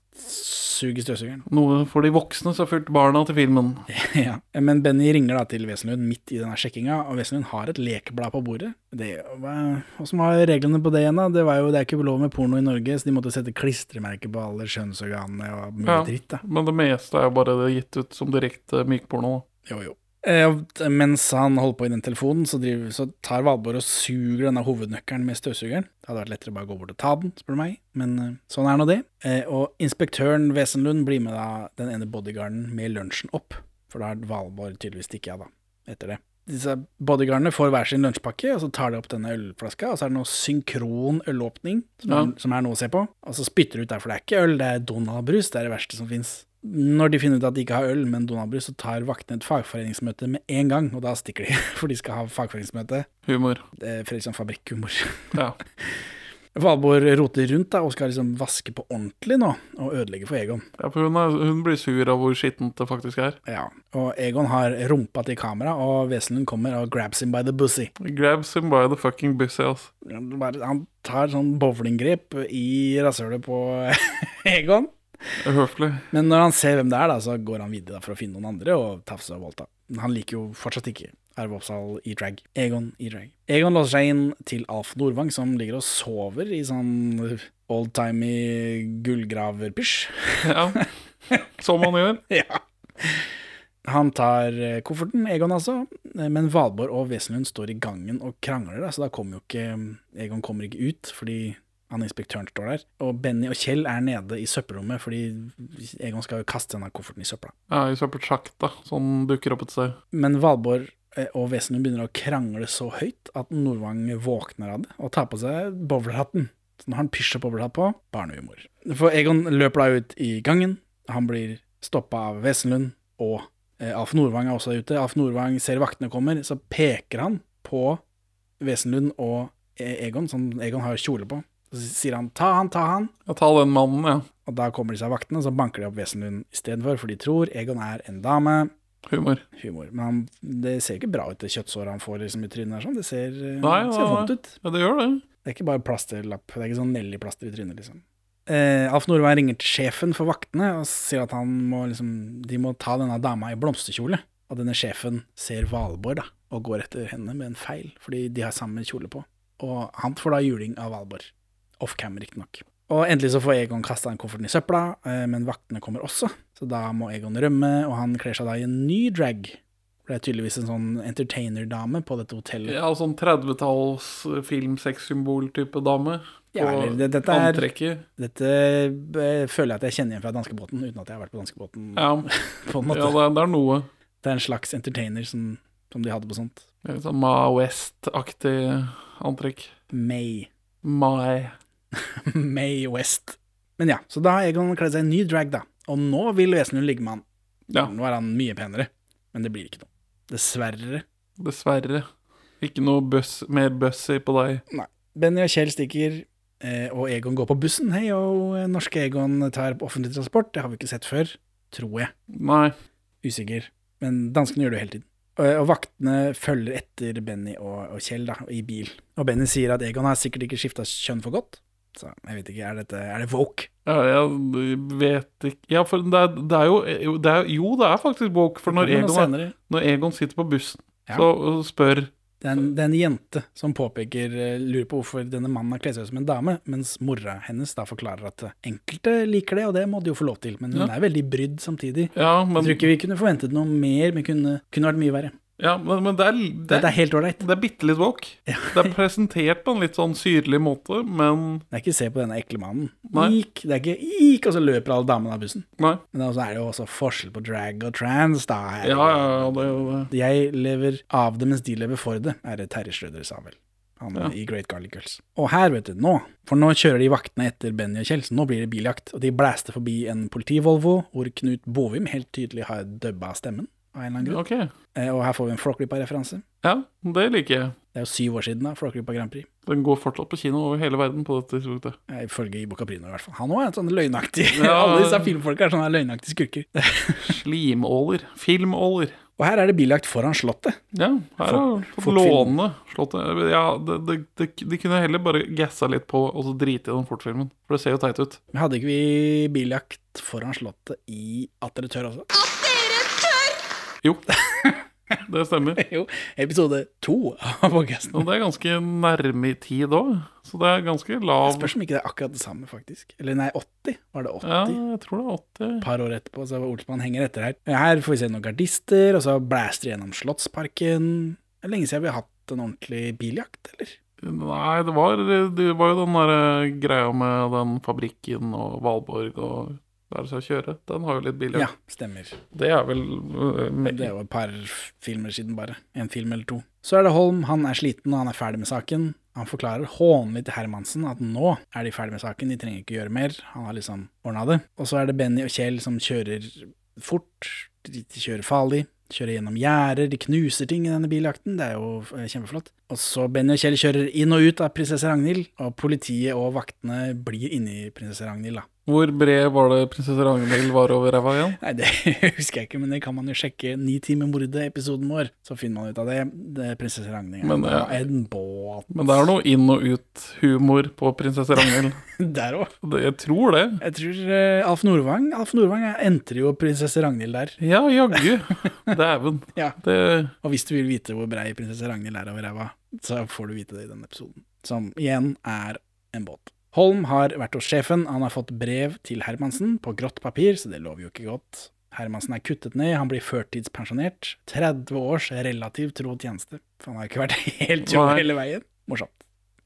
Speaker 1: Sug i støvsugeren.
Speaker 2: Noe for de voksne som har fulgt barna til filmen.
Speaker 1: [LAUGHS] ja. Men Benny ringer da til Wesenlund midt i denne sjekkinga, og Wesenlund har et lekeblad på bordet. Det, hva- Åssen var reglene på det igjen, da? Det, var jo, det er ikke lov med porno i Norge, så de måtte sette klistremerker på alle kjønnsorganene og mye
Speaker 2: Ja.
Speaker 1: dritt, da.
Speaker 2: Men det meste er jo bare gitt ut som direkte mykporno.
Speaker 1: Jo, jo. Eh, og t- mens han holder på i den telefonen, så, driver, så tar Valborg og suger denne hovednøkkelen med støvsugeren. Det hadde vært lettere bare å gå bort og ta den, spør du meg, men eh, sånn er nå det. Eh, og inspektøren Wesenlund blir med da den ene bodyguarden med lunsjen opp, for da har Valborg tydeligvis stikket av, da, etter det. Disse bodyguardene får hver sin lunsjpakke, og så tar de opp denne ølflaska, og så er det noe synkron ølåpning, som,
Speaker 2: Ja.
Speaker 1: er, som er noe å se på, og så spytter de ut der, for det er ikke øl, det er Donald-brus, det er det verste som fins. Når de finner ut at de ikke har øl, men Donald-brus, så tar vaktene et fagforeningsmøte med en gang, og da stikker de, [LAUGHS] for de skal ha fagforeningsmøte.
Speaker 2: Humor.
Speaker 1: Det er Fredriksson fabrikkhumor. [LAUGHS]
Speaker 2: Ja.
Speaker 1: Valborg roter rundt da, og skal liksom vaske på ordentlig nå, og ødelegge for Egon.
Speaker 2: ja for hun, er, hun blir sur av hvor skittent det faktisk er.
Speaker 1: Ja, og Egon har rumpa til kamera, og Wesenlund kommer og grabs him by the pussy.
Speaker 2: Grabs him by the fucking busy, ass.
Speaker 1: Han bare- Han tar sånn bowlinggrep i rasshølet på [LAUGHS] Egon.
Speaker 2: Uhøflig.
Speaker 1: Men når han ser hvem det er, da, så går han videre da, for å finne noen andre og tafse og voldta. Men Han liker jo fortsatt ikke Arve Oppsal i drag. Egon i drag. Egon låser seg inn til Alf Nordvang, som ligger og sover i sånn oldtimey gullgraverpysj.
Speaker 2: Ja. Som han gjør.
Speaker 1: ja. Han tar eh, kofferten, Egon altså, eh, men Valborg og Wesenlund står i gangen og krangler, da, så da kommer jo ikke mm, Egon kommer ikke ut fordi han inspektøren står der. Og Benny og Kjell er nede i søppelrommet fordi Egon skal jo kaste denne kofferten i søpla.
Speaker 2: Ja, I søppelsjakta, sånn dukker opp et sted.
Speaker 1: Men Valborg eh, og Wesenlund begynner å krangle så høyt at Nordvang våkner av det og tar på seg bowlerhatten. Så nå har han pysja bowlerhatt på. Barnehumor. For Egon løper da ut i gangen. Han blir stoppa av Wesenlund, og eh, Alf Nordvang er også ute. Alf Nordvang ser vaktene kommer, så peker han på Wesenlund og eh, Egon, som Egon har kjole på. Så sier han 'ta han, ta han'.
Speaker 2: Ja, ta den mannen, ja.
Speaker 1: Og da kommer disse vaktene, så banker de opp Wesenlund istedenfor, for de tror Egon er en dame
Speaker 2: Humor.
Speaker 1: humor. Men han, det ser ikke bra ut, det kjøttsåret han får liksom, i trynet. der, Sånn. Det ser, eh,
Speaker 2: Nei,
Speaker 1: ser
Speaker 2: nei,
Speaker 1: vondt ut.
Speaker 2: Ja, det gjør det.
Speaker 1: Det er ikke bare plasterlapp. Det er ikke sånn Nelly-plaster i trynet, liksom. Eh, Alf Nordvang ringer til sjefen for vaktene og sier at han må, liksom, de må ta denne dama i blomsterkjole. Og denne sjefen ser Valborg da, og går etter henne med en feil, fordi de har samme kjole på. Og han får da juling av Valborg. Off-cam, riktignok. Og endelig så får Egon kasta den kofferten i søpla, eh, men vaktene kommer også. Så da må Egon rømme, og han kler seg da i en ny drag. For det er tydeligvis en sånn entertainerdame på dette hotellet.
Speaker 2: Ja, sånn eh, 30-talls filmsexsymbol-type dame.
Speaker 1: Ja,
Speaker 2: Og
Speaker 1: eller det- dette er-
Speaker 2: Antrekket.
Speaker 1: Dette eh, føler jeg at jeg kjenner igjen fra danskebåten, uten at jeg har vært på danskebåten.
Speaker 2: Ja,
Speaker 1: På en
Speaker 2: ja
Speaker 1: måte.
Speaker 2: det, er, det er noe.
Speaker 1: det er en slags entertainer som, som de hadde på sånt.
Speaker 2: Det er litt Sånn Ma West-aktig antrekk.
Speaker 1: May. [LAUGHS]
Speaker 2: Mai.
Speaker 1: May West. Men ja, så da har Egon kledd seg i ny drag, da. Og nå vil Wesenlund ligge med han.
Speaker 2: Ja,
Speaker 1: Nå er han mye penere, men det blir ikke noe. Dessverre.
Speaker 2: dessverre. Ikke noe buss, mer bussy på deg.
Speaker 1: Benny og Kjell stikker, eh, og Egon går på bussen. Hei og norske Egon tar offentlig transport. Det har vi ikke sett før, tror jeg.
Speaker 2: Nei.
Speaker 1: Usikker. Men danskene gjør det jo hele tiden. Og, og vaktene følger etter Benny og, og Kjell da, i bil. Og Benny sier at Egon har sikkert ikke skifta kjønn for godt. Så jeg vet ikke, er, dette, er det woke?
Speaker 2: Ja, jeg vet ikke Ja, for det er, det er jo det er, Jo, det er faktisk woke, for når
Speaker 1: Det kommer noe
Speaker 2: Egon, er-
Speaker 1: senere.
Speaker 2: når Egon sitter på bussen
Speaker 1: Ja.
Speaker 2: så og spør
Speaker 1: det er, en, det er en jente som påpeker, eh, lurer på hvorfor denne mannen har kledd seg ut som en dame, mens mora hennes da forklarer at enkelte liker det, og det må de jo få lov til, men hun
Speaker 2: Ja.
Speaker 1: er veldig brydd samtidig.
Speaker 2: Ja, men,
Speaker 1: Jeg tror ikke vi kunne forventet noe mer, men kunne, kunne vært mye verre.
Speaker 2: ja, men, men det er, det
Speaker 1: Dette er helt ålreit.
Speaker 2: Det er bitte litt woke. Det er presentert på en litt sånn syrlig måte, men
Speaker 1: Det er ikke se på denne ekle mannen.
Speaker 2: Nei.
Speaker 1: Ik, det er ikke ik, og så løper alle damene av bussen.
Speaker 2: Nei.
Speaker 1: Men så er det jo også forskjell på drag og trans, da.
Speaker 2: Ja, ja, ja, det er jo det.
Speaker 1: Jeg lever av det mens de lever for det, er det Terje Schrøder sa vel. Han
Speaker 2: Ja.
Speaker 1: i Great Garlic Girls. Og her, vet du, nå, for nå kjører de vaktene etter Benny og Kjell, så nå blir det biljakt. Og de blæster forbi en politivolvo, hvor Knut Bovim helt tydelig har dubba stemmen. Av en eller annen grunn.
Speaker 2: Ok.
Speaker 1: Eh, Og her får vi en Flåklypa-referanse.
Speaker 2: Ja, det liker jeg.
Speaker 1: Det er jo syv år siden da, Flåklypa Grand Prix.
Speaker 2: Den går fortsatt på kino over hele verden på dette tidspunktet.
Speaker 1: Eh, Ifølge Ibo Caprino, i hvert fall. Han òg er sånn løgnaktig. [LAUGHS]
Speaker 2: Ja.
Speaker 1: Alle disse filmfolka er sånne løgnaktige skurker. [LAUGHS]
Speaker 2: Slimåler. Filmåler.
Speaker 1: Og her er det bilagt foran Slottet.
Speaker 2: Ja, her har jeg fått
Speaker 1: fått film.
Speaker 2: låne Slottet. Ja, det, det, det, de kunne heller bare gassa litt på og så drite i den fortfilmen. For det ser jo teit ut.
Speaker 1: Men Hadde ikke vi biljakt foran Slottet i At dere tør også? [LAUGHS]
Speaker 2: Jo, det stemmer.
Speaker 1: Jo, episode to av podkasten.
Speaker 2: Og det er ganske nærme i tid òg, så det er ganske lav
Speaker 1: Spørs om ikke det er akkurat det samme, faktisk. Eller nei, 80 var det 80.
Speaker 2: Ja, jeg tror det er 80.
Speaker 1: Et par år etterpå, så Olsmann henger etter her. Her får vi se noen gardister, og så blæster de gjennom Slottsparken. Det er lenge siden vi har hatt en ordentlig biljakt, eller?
Speaker 2: Nei, det var, det var jo den der eh, greia med den fabrikken og Valborg og lære seg å kjøre. Den har jo litt billig.
Speaker 1: Ja, stemmer.
Speaker 2: Det er vel eh, me-
Speaker 1: Det er jo et par filmer siden, bare. En film eller to. Så er det Holm. Han er sliten, og han er ferdig med saken. Han forklarer hånlig til Hermansen at nå er de ferdig med saken, de trenger ikke gjøre mer. Han har liksom ordna det. Og så er det Benny og Kjell som kjører fort. De de kjører farlig. Kjører gjennom gjerder, de knuser ting i denne biljakten. Det er jo eh, kjempeflott. Og så Benny og Kjell kjører inn og ut av prinsesse Ragnhild, og politiet og vaktene blir inni prinsesse Ragnhild, da.
Speaker 2: Hvor bred var det prinsesse Ragnhild var over ræva igjen?
Speaker 1: Nei, det [LAUGHS] husker jeg ikke, men det kan man jo sjekke. Ni timer mordet-episoden vår, så finner man ut av det. Det er prinsesse Ragnhild.
Speaker 2: Men,
Speaker 1: ja.
Speaker 2: eh,
Speaker 1: En båt [LAUGHS]
Speaker 2: Men det er noe inn- og ut-humor på prinsesse Ragnhild.
Speaker 1: der òg.
Speaker 2: Det- Jeg tror det.
Speaker 1: Jeg tror eh, Alf Nordvang Alf Nordvang eh, entrer jo prinsesse Ragnhild der.
Speaker 2: Ja, jaggu. Dæven.
Speaker 1: Ja.
Speaker 2: Det
Speaker 1: Og hvis du vil vite hvor brei prinsesse Ragnhild er over ræva, så får du vite det i denne episoden. Som igjen er en båt. Holm har vært hos sjefen, han har fått brev til Hermansen på grått papir, så det lover jo ikke godt. Hermansen er kuttet ned, han blir førtidspensjonert. 30 års relativ tro og tjeneste. For han har ikke vært helt jobb
Speaker 2: Nei.
Speaker 1: hele veien. Morsomt.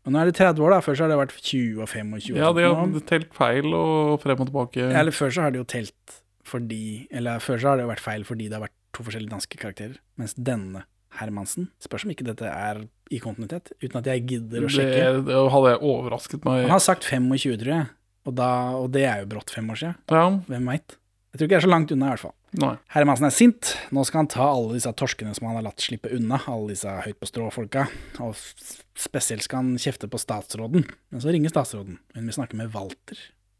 Speaker 1: Og nå er det 30 år, da. Før så har det vært 20 og 25 og sånt
Speaker 2: Ja, de
Speaker 1: nå.
Speaker 2: har telt feil og frem og tilbake.
Speaker 1: Eller før så har det jo telt fordi Eller før så har det jo vært feil fordi det har vært to forskjellige danske karakterer. Mens denne Hermansen Spørs om ikke dette er i kontinuitet, uten at jeg gidder å
Speaker 2: det,
Speaker 1: sjekke.
Speaker 2: det hadde jeg overrasket meg.
Speaker 1: Han har sagt 25, tror jeg, og, da, og det er jo brått fem år siden.
Speaker 2: Ja,
Speaker 1: Hvem veit? Jeg tror ikke det er så langt unna, i hvert fall.
Speaker 2: nei.
Speaker 1: Hermansen er sint. Nå skal han ta alle disse torskene som han har latt slippe unna, alle disse høyt på strå-folka. Og s- spesielt skal han kjefte på statsråden. Men så ringer statsråden. Hun vil snakke med Walter,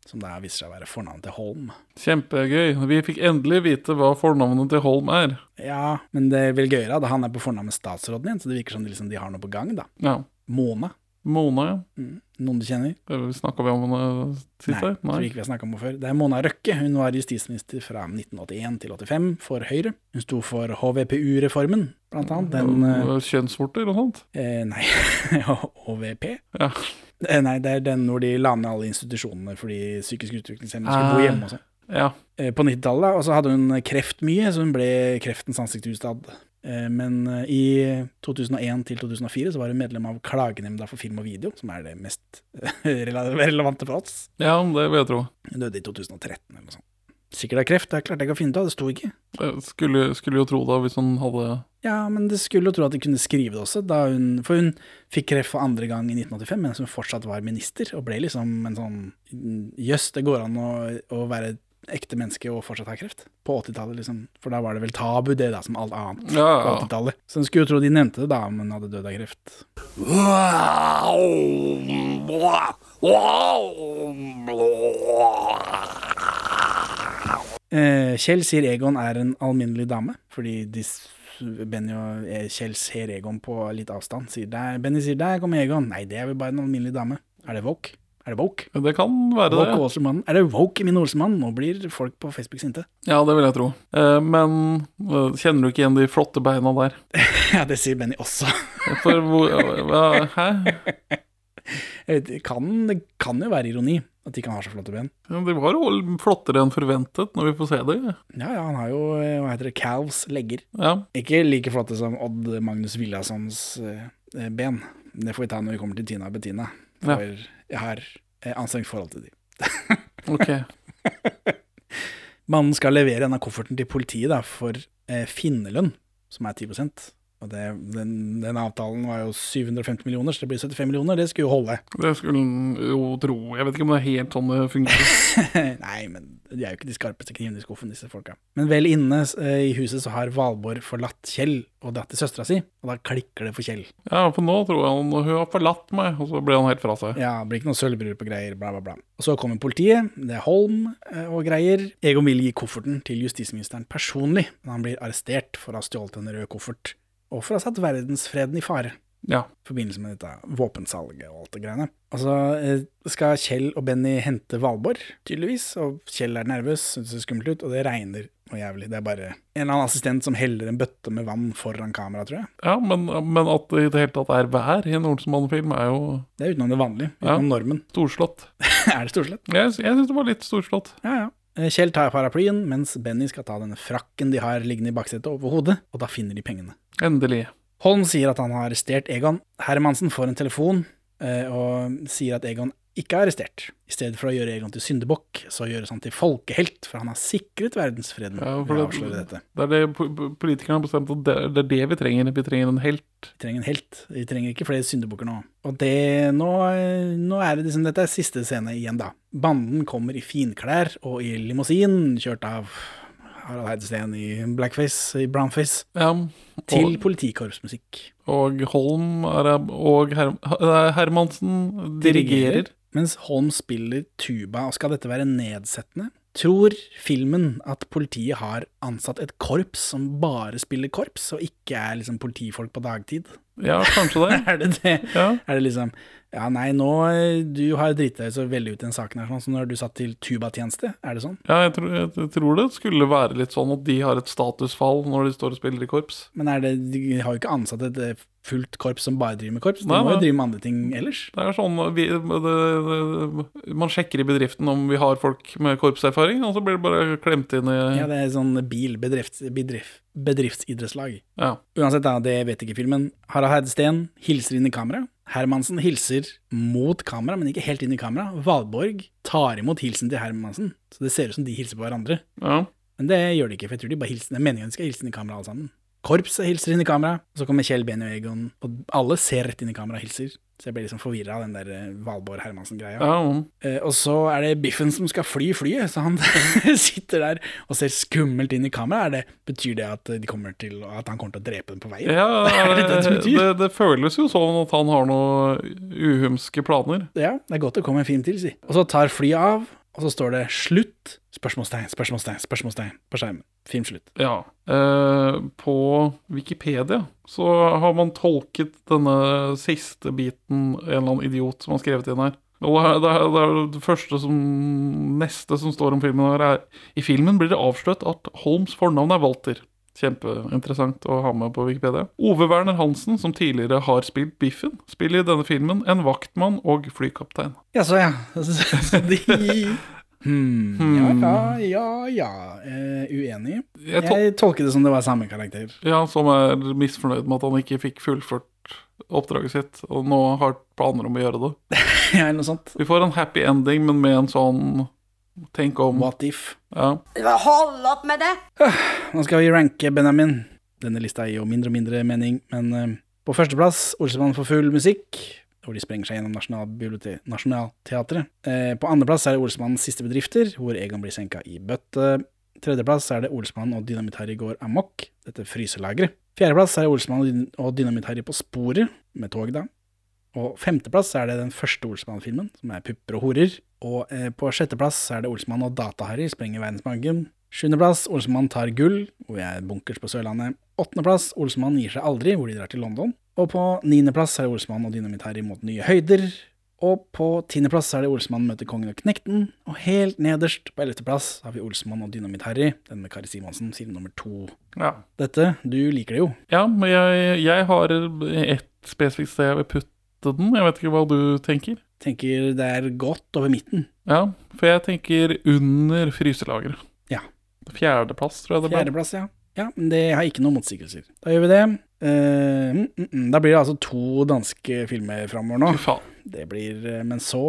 Speaker 1: som da viser seg å være fornavnet til Holm.
Speaker 2: Kjempegøy. Vi fikk endelig vite hva fornavnet til Holm er.
Speaker 1: Ja, men det er vel gøyere da. Han er på fornavn med statsråden igjen, så det virker som de, liksom, de har noe på gang, da.
Speaker 2: Ja.
Speaker 1: Mona.
Speaker 2: Mona, ja.
Speaker 1: Mm. Noen du kjenner?
Speaker 2: Snakka vi om henne sist?
Speaker 1: Nei,
Speaker 2: her?
Speaker 1: tror ikke vi har snakket om henne før. Det er Mona Røkke. Hun var justisminister fra 1981 til 85 for Høyre. Hun sto for HVPU-reformen, blant annet. Den eh,
Speaker 2: Og Kjønnsvorter og sånt?
Speaker 1: eh, Nei, [LAUGHS] HVP?
Speaker 2: Ja.
Speaker 1: Eh, Nei, det er den hvor de la ned alle institusjonene fordi psykisk utviklingshemmede skulle bo
Speaker 2: Ah.
Speaker 1: hjemme og sånn.
Speaker 2: ja.
Speaker 1: eh, på 90-tallet, da, og så hadde hun kreft mye, så hun ble kreftens ansiktshusstad. Eh, Men eh, i 2001 til 2004 så var hun medlem av Klagenemnda for film og video, som er det mest [LAUGHS] rela- relevante for oss.
Speaker 2: Ja, det vil jeg tro.
Speaker 1: Hun døde i 2013 eller noe sånt. Sikkert av kreft, det klarte jeg ikke å finne ut av, det sto ikke.
Speaker 2: Jeg Skulle, skulle jo tro det hvis hun hadde
Speaker 1: Ja, men det skulle jo tro at de kunne skrive det også, da hun, for hun fikk kreft for andre gang i 1985 mens hun fortsatt var minister, og ble liksom en sånn Jøss, det går an å, å være et ekte menneske og fortsatt ha kreft. På 80-tallet, liksom. For da var det vel tabu, det, da, som alt annet.
Speaker 2: Ja,
Speaker 1: På
Speaker 2: ja.
Speaker 1: 80-tallet. Så en skulle jo tro de nevnte det, da, om hun hadde dødd av kreft. Eh, Kjell sier Egon er en alminnelig dame, fordi de, s- Benny og eh, Kjell ser Egon på litt avstand. Sier der, Benny sier 'der kommer Egon'. Nei, det er vel bare en alminnelig dame. Er det woke? Er det woke?
Speaker 2: Det kan være
Speaker 1: Woke
Speaker 2: det.
Speaker 1: Olsenmannen. Er det woke i min Olsenmann? Nå blir folk på Facebook sinte. [LAUGHS]
Speaker 2: Ja, det vil jeg tro. Eh, Men eh, kjenner du ikke igjen de flotte beina der?
Speaker 1: Ja, det sier Benny også. [LAUGHS]
Speaker 2: For hvor hva- Hæ?
Speaker 1: Jeg vet, kan, det kan jo være ironi at de kan ha så flotte ben.
Speaker 2: Ja, De var jo flottere enn forventet når vi får se det.
Speaker 1: Ja, ja, han har jo eh, hva heter det, calves, legger.
Speaker 2: Ja,
Speaker 1: Ikke like flotte som Odd Magnus Villasons eh, eh, ben. Det får vi ta når vi kommer til Tina og Bettina, for jeg har eh, anstrengt forhold til de.
Speaker 2: ok.
Speaker 1: Mannen skal levere en av kofferten til politiet da, for eh, finnelønn, som er 10 Og det, den, den avtalen var jo 750 millioner, så det blir 75 millioner. Det skulle jo holde.
Speaker 2: Det skulle en jo tro. Jeg vet ikke om det er helt sånn det fungerer.
Speaker 1: [LAUGHS] Nei, men de er jo ikke de skarpeste knivene i skuffen, disse folka. Men vel inne eh, i huset så har Valborg forlatt Kjell og dratt til søstera si, og da klikker det for Kjell.
Speaker 2: Ja, for nå tror jeg han hun har forlatt meg, og så ble han helt fra seg.
Speaker 1: Ja, det blir ikke noe sølvbryllup og greier, bla, bla, bla. Og så kommer politiet, det er Holm eh, og greier. Egon vil gi kofferten til justisministeren personlig, men han blir arrestert for å ha stjålet en rød koffert, og for å ha satt verdensfreden i fare.
Speaker 2: Ja.
Speaker 1: I forbindelse med dette våpensalget og alt det greiene. Og så eh, skal Kjell og Benny hente Valborg, tydeligvis, og Kjell er nervøs, synes det ser skummelt ut, og det regner noe jævlig. Det er bare en eller annen assistent som heller en bøtte med vann foran kamera, tror jeg.
Speaker 2: Ja, men, men at det i det hele tatt er vær i en Olsenmann-film, er jo
Speaker 1: Det er utenom det vanlige,
Speaker 2: Ja.
Speaker 1: utenom normen. [LAUGHS]
Speaker 2: storslått.
Speaker 1: er det stort sett?
Speaker 2: Jeg, sy- jeg syns det var litt storslått.
Speaker 1: Ja, ja. Eh, Kjell tar paraplyen, mens Benny skal ta denne frakken de har liggende i baksetet over hodet, og da finner de pengene.
Speaker 2: Endelig.
Speaker 1: Holm sier at han har arrestert Egon. Hermansen får en telefon eh, og sier at Egon ikke er arrestert. I stedet for å gjøre Egon til syndebukk, så gjøres han til folkehelt, for han har sikret verdensfreden
Speaker 2: Ja, for
Speaker 1: ved å
Speaker 2: det-
Speaker 1: avsløre dette.
Speaker 2: Det er det po- po- politikerne har bestemt at det det er det vi trenger. Vi trenger en helt.
Speaker 1: Vi trenger en helt. Vi trenger ikke flere syndebukker nå. Og det, nå, eh, nå er det liksom, dette er siste scene igjen, da. Banden kommer i finklær og i limousin, kjørt av Harald Heidesteen i blackface, i brownface,
Speaker 2: Ja,
Speaker 1: til
Speaker 2: og,
Speaker 1: politikorpsmusikk.
Speaker 2: og Holm er, og Her, Her- Hermansen dirigerer.
Speaker 1: Mens Holm spiller tuba, og skal dette være nedsettende? Tror filmen at politiet har ansatt et korps som bare spiller korps, og ikke er liksom politifolk på dagtid? [LAUGHS]
Speaker 2: Ja, kanskje det.
Speaker 1: er det det?
Speaker 2: Ja.
Speaker 1: Er det liksom Ja, nei, nå eh, Du har driti deg så veldig ut i den saken her, sånn som når du satt til tubatjeneste. Er det sånn?
Speaker 2: Ja, jeg tror, jeg tror det skulle være litt sånn at de har et statusfall når de står og spiller i korps.
Speaker 1: Men er det, de har jo ikke ansatt et eh, fullt korps som bare driver med korps. De
Speaker 2: Nei,
Speaker 1: må jo
Speaker 2: nei.
Speaker 1: drive med andre ting ellers.
Speaker 2: Det er sånn vi, det, det, Man sjekker i bedriften om vi har folk med korpserfaring, og så blir det bare klemt inn i
Speaker 1: Ja, det er sånn bil, bedrift, bedrift, bedriftsidrettslag.
Speaker 2: Ja.
Speaker 1: Uansett, da, det vet ikke filmen. Harald Heidesteen hilser inn i kamera. Hermansen hilser mot kamera, men ikke helt inn i kamera. Valborg tar imot hilsen til Hermansen, så det ser ut som de hilser på hverandre.
Speaker 2: ja.
Speaker 1: Men det gjør de ikke, for jeg tror de bare hilser. Det er meningen de skal hilse inn i kamera, alle sammen. Korpset hilser inn i kamera, og så kommer Kjell, Benny og Egon, og alle ser rett inn i kamera og hilser. Så jeg ble liksom forvirra av den der eh, Valborg-Hermansen-greia.
Speaker 2: ja.
Speaker 1: Eh, og så er det Biffen som skal fly flyet, så han [LAUGHS] sitter der og ser skummelt inn i kamera. Er det, betyr det at, de kommer til, at han kommer til å drepe dem på veien? [LAUGHS]
Speaker 2: ja
Speaker 1: Er det det som
Speaker 2: det,
Speaker 1: betyr?
Speaker 2: det, det føles jo sånn at han har noen uhumske planer.
Speaker 1: Ja, det er godt det kommer en film til, si. Og så tar flyet av, og så står det 'slutt', spørsmålstegn, spørsmålstegn, spørsmålstegn på skjermen. Film slutt.
Speaker 2: Ja. Eh, på Wikipedia så har man tolket denne siste biten en eller annen idiot som har skrevet inn her. Og det, er- det, er- det er jo det første som neste som står om filmen her, er I filmen blir det avslørt at Holms fornavn er Walter. Kjempeinteressant å ha med på Wikipedia. Ove Werner Hansen, som tidligere har spilt Biffen, spiller i denne filmen en vaktmann og flykaptein.
Speaker 1: Jaså, [LAUGHS] ja. Så de hmm. Ja, ja, ja. ja. Eh, uenig.
Speaker 2: Jeg tol
Speaker 1: Jeg tolker det som det var samme karakter. [LAUGHS]
Speaker 2: ja, som er misfornøyd med at han ikke fikk fullført oppdraget sitt, og nå har planer om å gjøre det.
Speaker 1: Ja, eller noe sånt.
Speaker 2: Vi får en happy ending, men med en sånn Tenk om.
Speaker 1: What if?
Speaker 2: Ja.
Speaker 9: Hold opp med det!
Speaker 1: Nå skal vi ranke Benjamin. Denne lista gir jo mindre og mindre mening, men eh, på førsteplass Olsemann for full musikk, hvor de sprenger seg gjennom Nasjonalbiblioteket- Nationaltheatret. Eh, på andreplass er det Olsemannens siste bedrifter, hvor Egon blir senka i bøtte. Tredjeplass er det Olsemann og Dynamitt-Harry går amok, dette fryselageret. Fjerdeplass er det Olsemann og Dyn- og Dynamitt-Harry på sporet, med tog, da. Og femteplass er det den første Olsmann-filmen, som er Pupper og horer. Og eh, på sjetteplass er det Olsmann og Data-Harry sprenger verdensbanken. Sjuendeplass Olsmann tar gull, hvor vi er bunkers på Sørlandet. Åttendeplass Olsmann gir seg aldri, hvor de drar til London. Og på niendeplass er det Olsmann og Dynamitt-Harry mot nye høyder. Og på tiendeplass er det Olsmann møter kongen og knekten. Og helt nederst, på ellevteplass, har vi Olsmann og Dynamitt-Harry, den med Kari Simonsen, side nummer to.
Speaker 2: Ja.
Speaker 1: Dette, du liker det jo.
Speaker 2: ja, men jeg, jeg har ett spesifikt sted jeg vil putte den. Jeg vet ikke hva du tenker.
Speaker 1: Tenker det er godt over midten.
Speaker 2: Ja, for jeg tenker under fryselageret.
Speaker 1: Ja.
Speaker 2: Fjerdeplass, tror jeg det ble.
Speaker 1: Fjerdeplass, ja. Ja, men det har ikke noen motsigelser. Da gjør vi det. Eh, mm, mm, mm. da blir det altså to danske filmer framover nå.
Speaker 2: Fy faen.
Speaker 1: Det blir, eh, Men så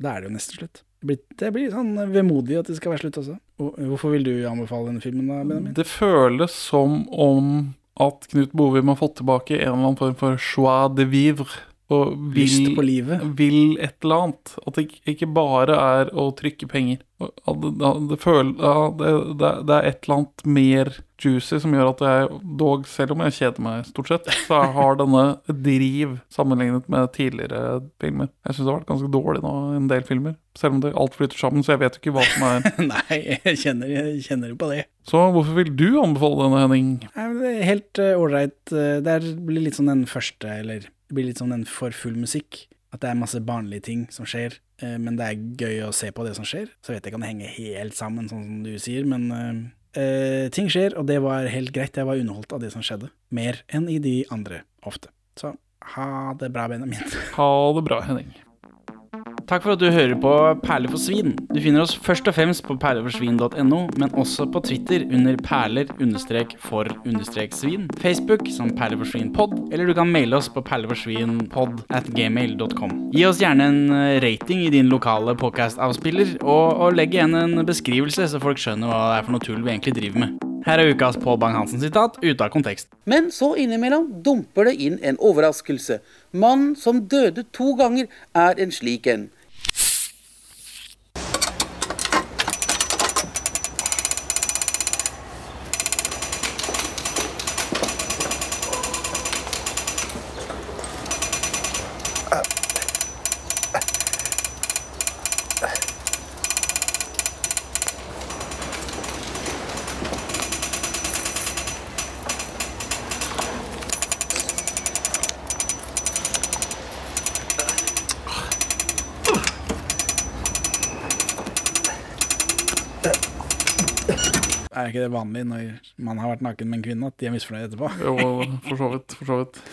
Speaker 1: Da er det jo nesten slutt. Det blir, det blir sånn vemodig at det skal være slutt også. Og- Hvorfor vil du anbefale denne filmen, da, Benjamin?
Speaker 2: Det føles som om at Knut Bovim har fått tilbake en eller annen form for joie de vivre. Og vil,
Speaker 1: Lyst på livet. [LAUGHS]
Speaker 2: vil et eller annet. At det ikke- ikke bare er å trykke penger. Og At det, at det, føl- ja, det, det, det er et eller annet mer juicy som gjør at jeg dog, selv om jeg kjeder meg stort sett, så jeg har denne driv sammenlignet med tidligere filmer. Jeg syns det har vært ganske dårlig nå, en del filmer. Selv om det alt flyter sammen, så jeg vet jo ikke hva som
Speaker 1: [LAUGHS]
Speaker 2: er
Speaker 1: Nei, jeg kjenner, jeg kjenner jo på det.
Speaker 2: Så hvorfor vil du anbefale denne, Henning?
Speaker 1: Nei, men det er helt eh, ålreit. eh, det er- blir litt sånn den første, eller det blir litt sånn den for full musikk. At det er masse barnlige ting som skjer, eh, men det er gøy å se på det som skjer. Så vet jeg ikke om det henger helt sammen, sånn som du sier, men eh, eh, ting skjer, og det var helt greit. Jeg var underholdt av det som skjedde. Mer enn i de andre, ofte. Så ha det bra, Benjamin. [LAUGHS]
Speaker 2: Ha det bra, Henning.
Speaker 1: Takk for at du hører på Perler for svin. Du finner oss først og fremst på perleforsvin.no, men også på Twitter under perler-for-svin, Facebook som perleforsvinpod, eller du kan maile oss på perleforsvinpod at gmail.com. Gi oss gjerne en eh, rating i din lokale podcast-avspiller, og, og legg igjen en beskrivelse, så folk skjønner hva det er for noe tull vi egentlig driver med. Her er ukas Pål Bang-Hansen-sitat ute av kontekst.
Speaker 10: Men så innimellom dumper det inn en overraskelse. Mannen som døde to ganger, er en slik en.
Speaker 1: Er ikke det vanlig når man har vært naken med en kvinne, at de er misfornøyd etterpå?
Speaker 2: Jo, for så vidt. For så vidt.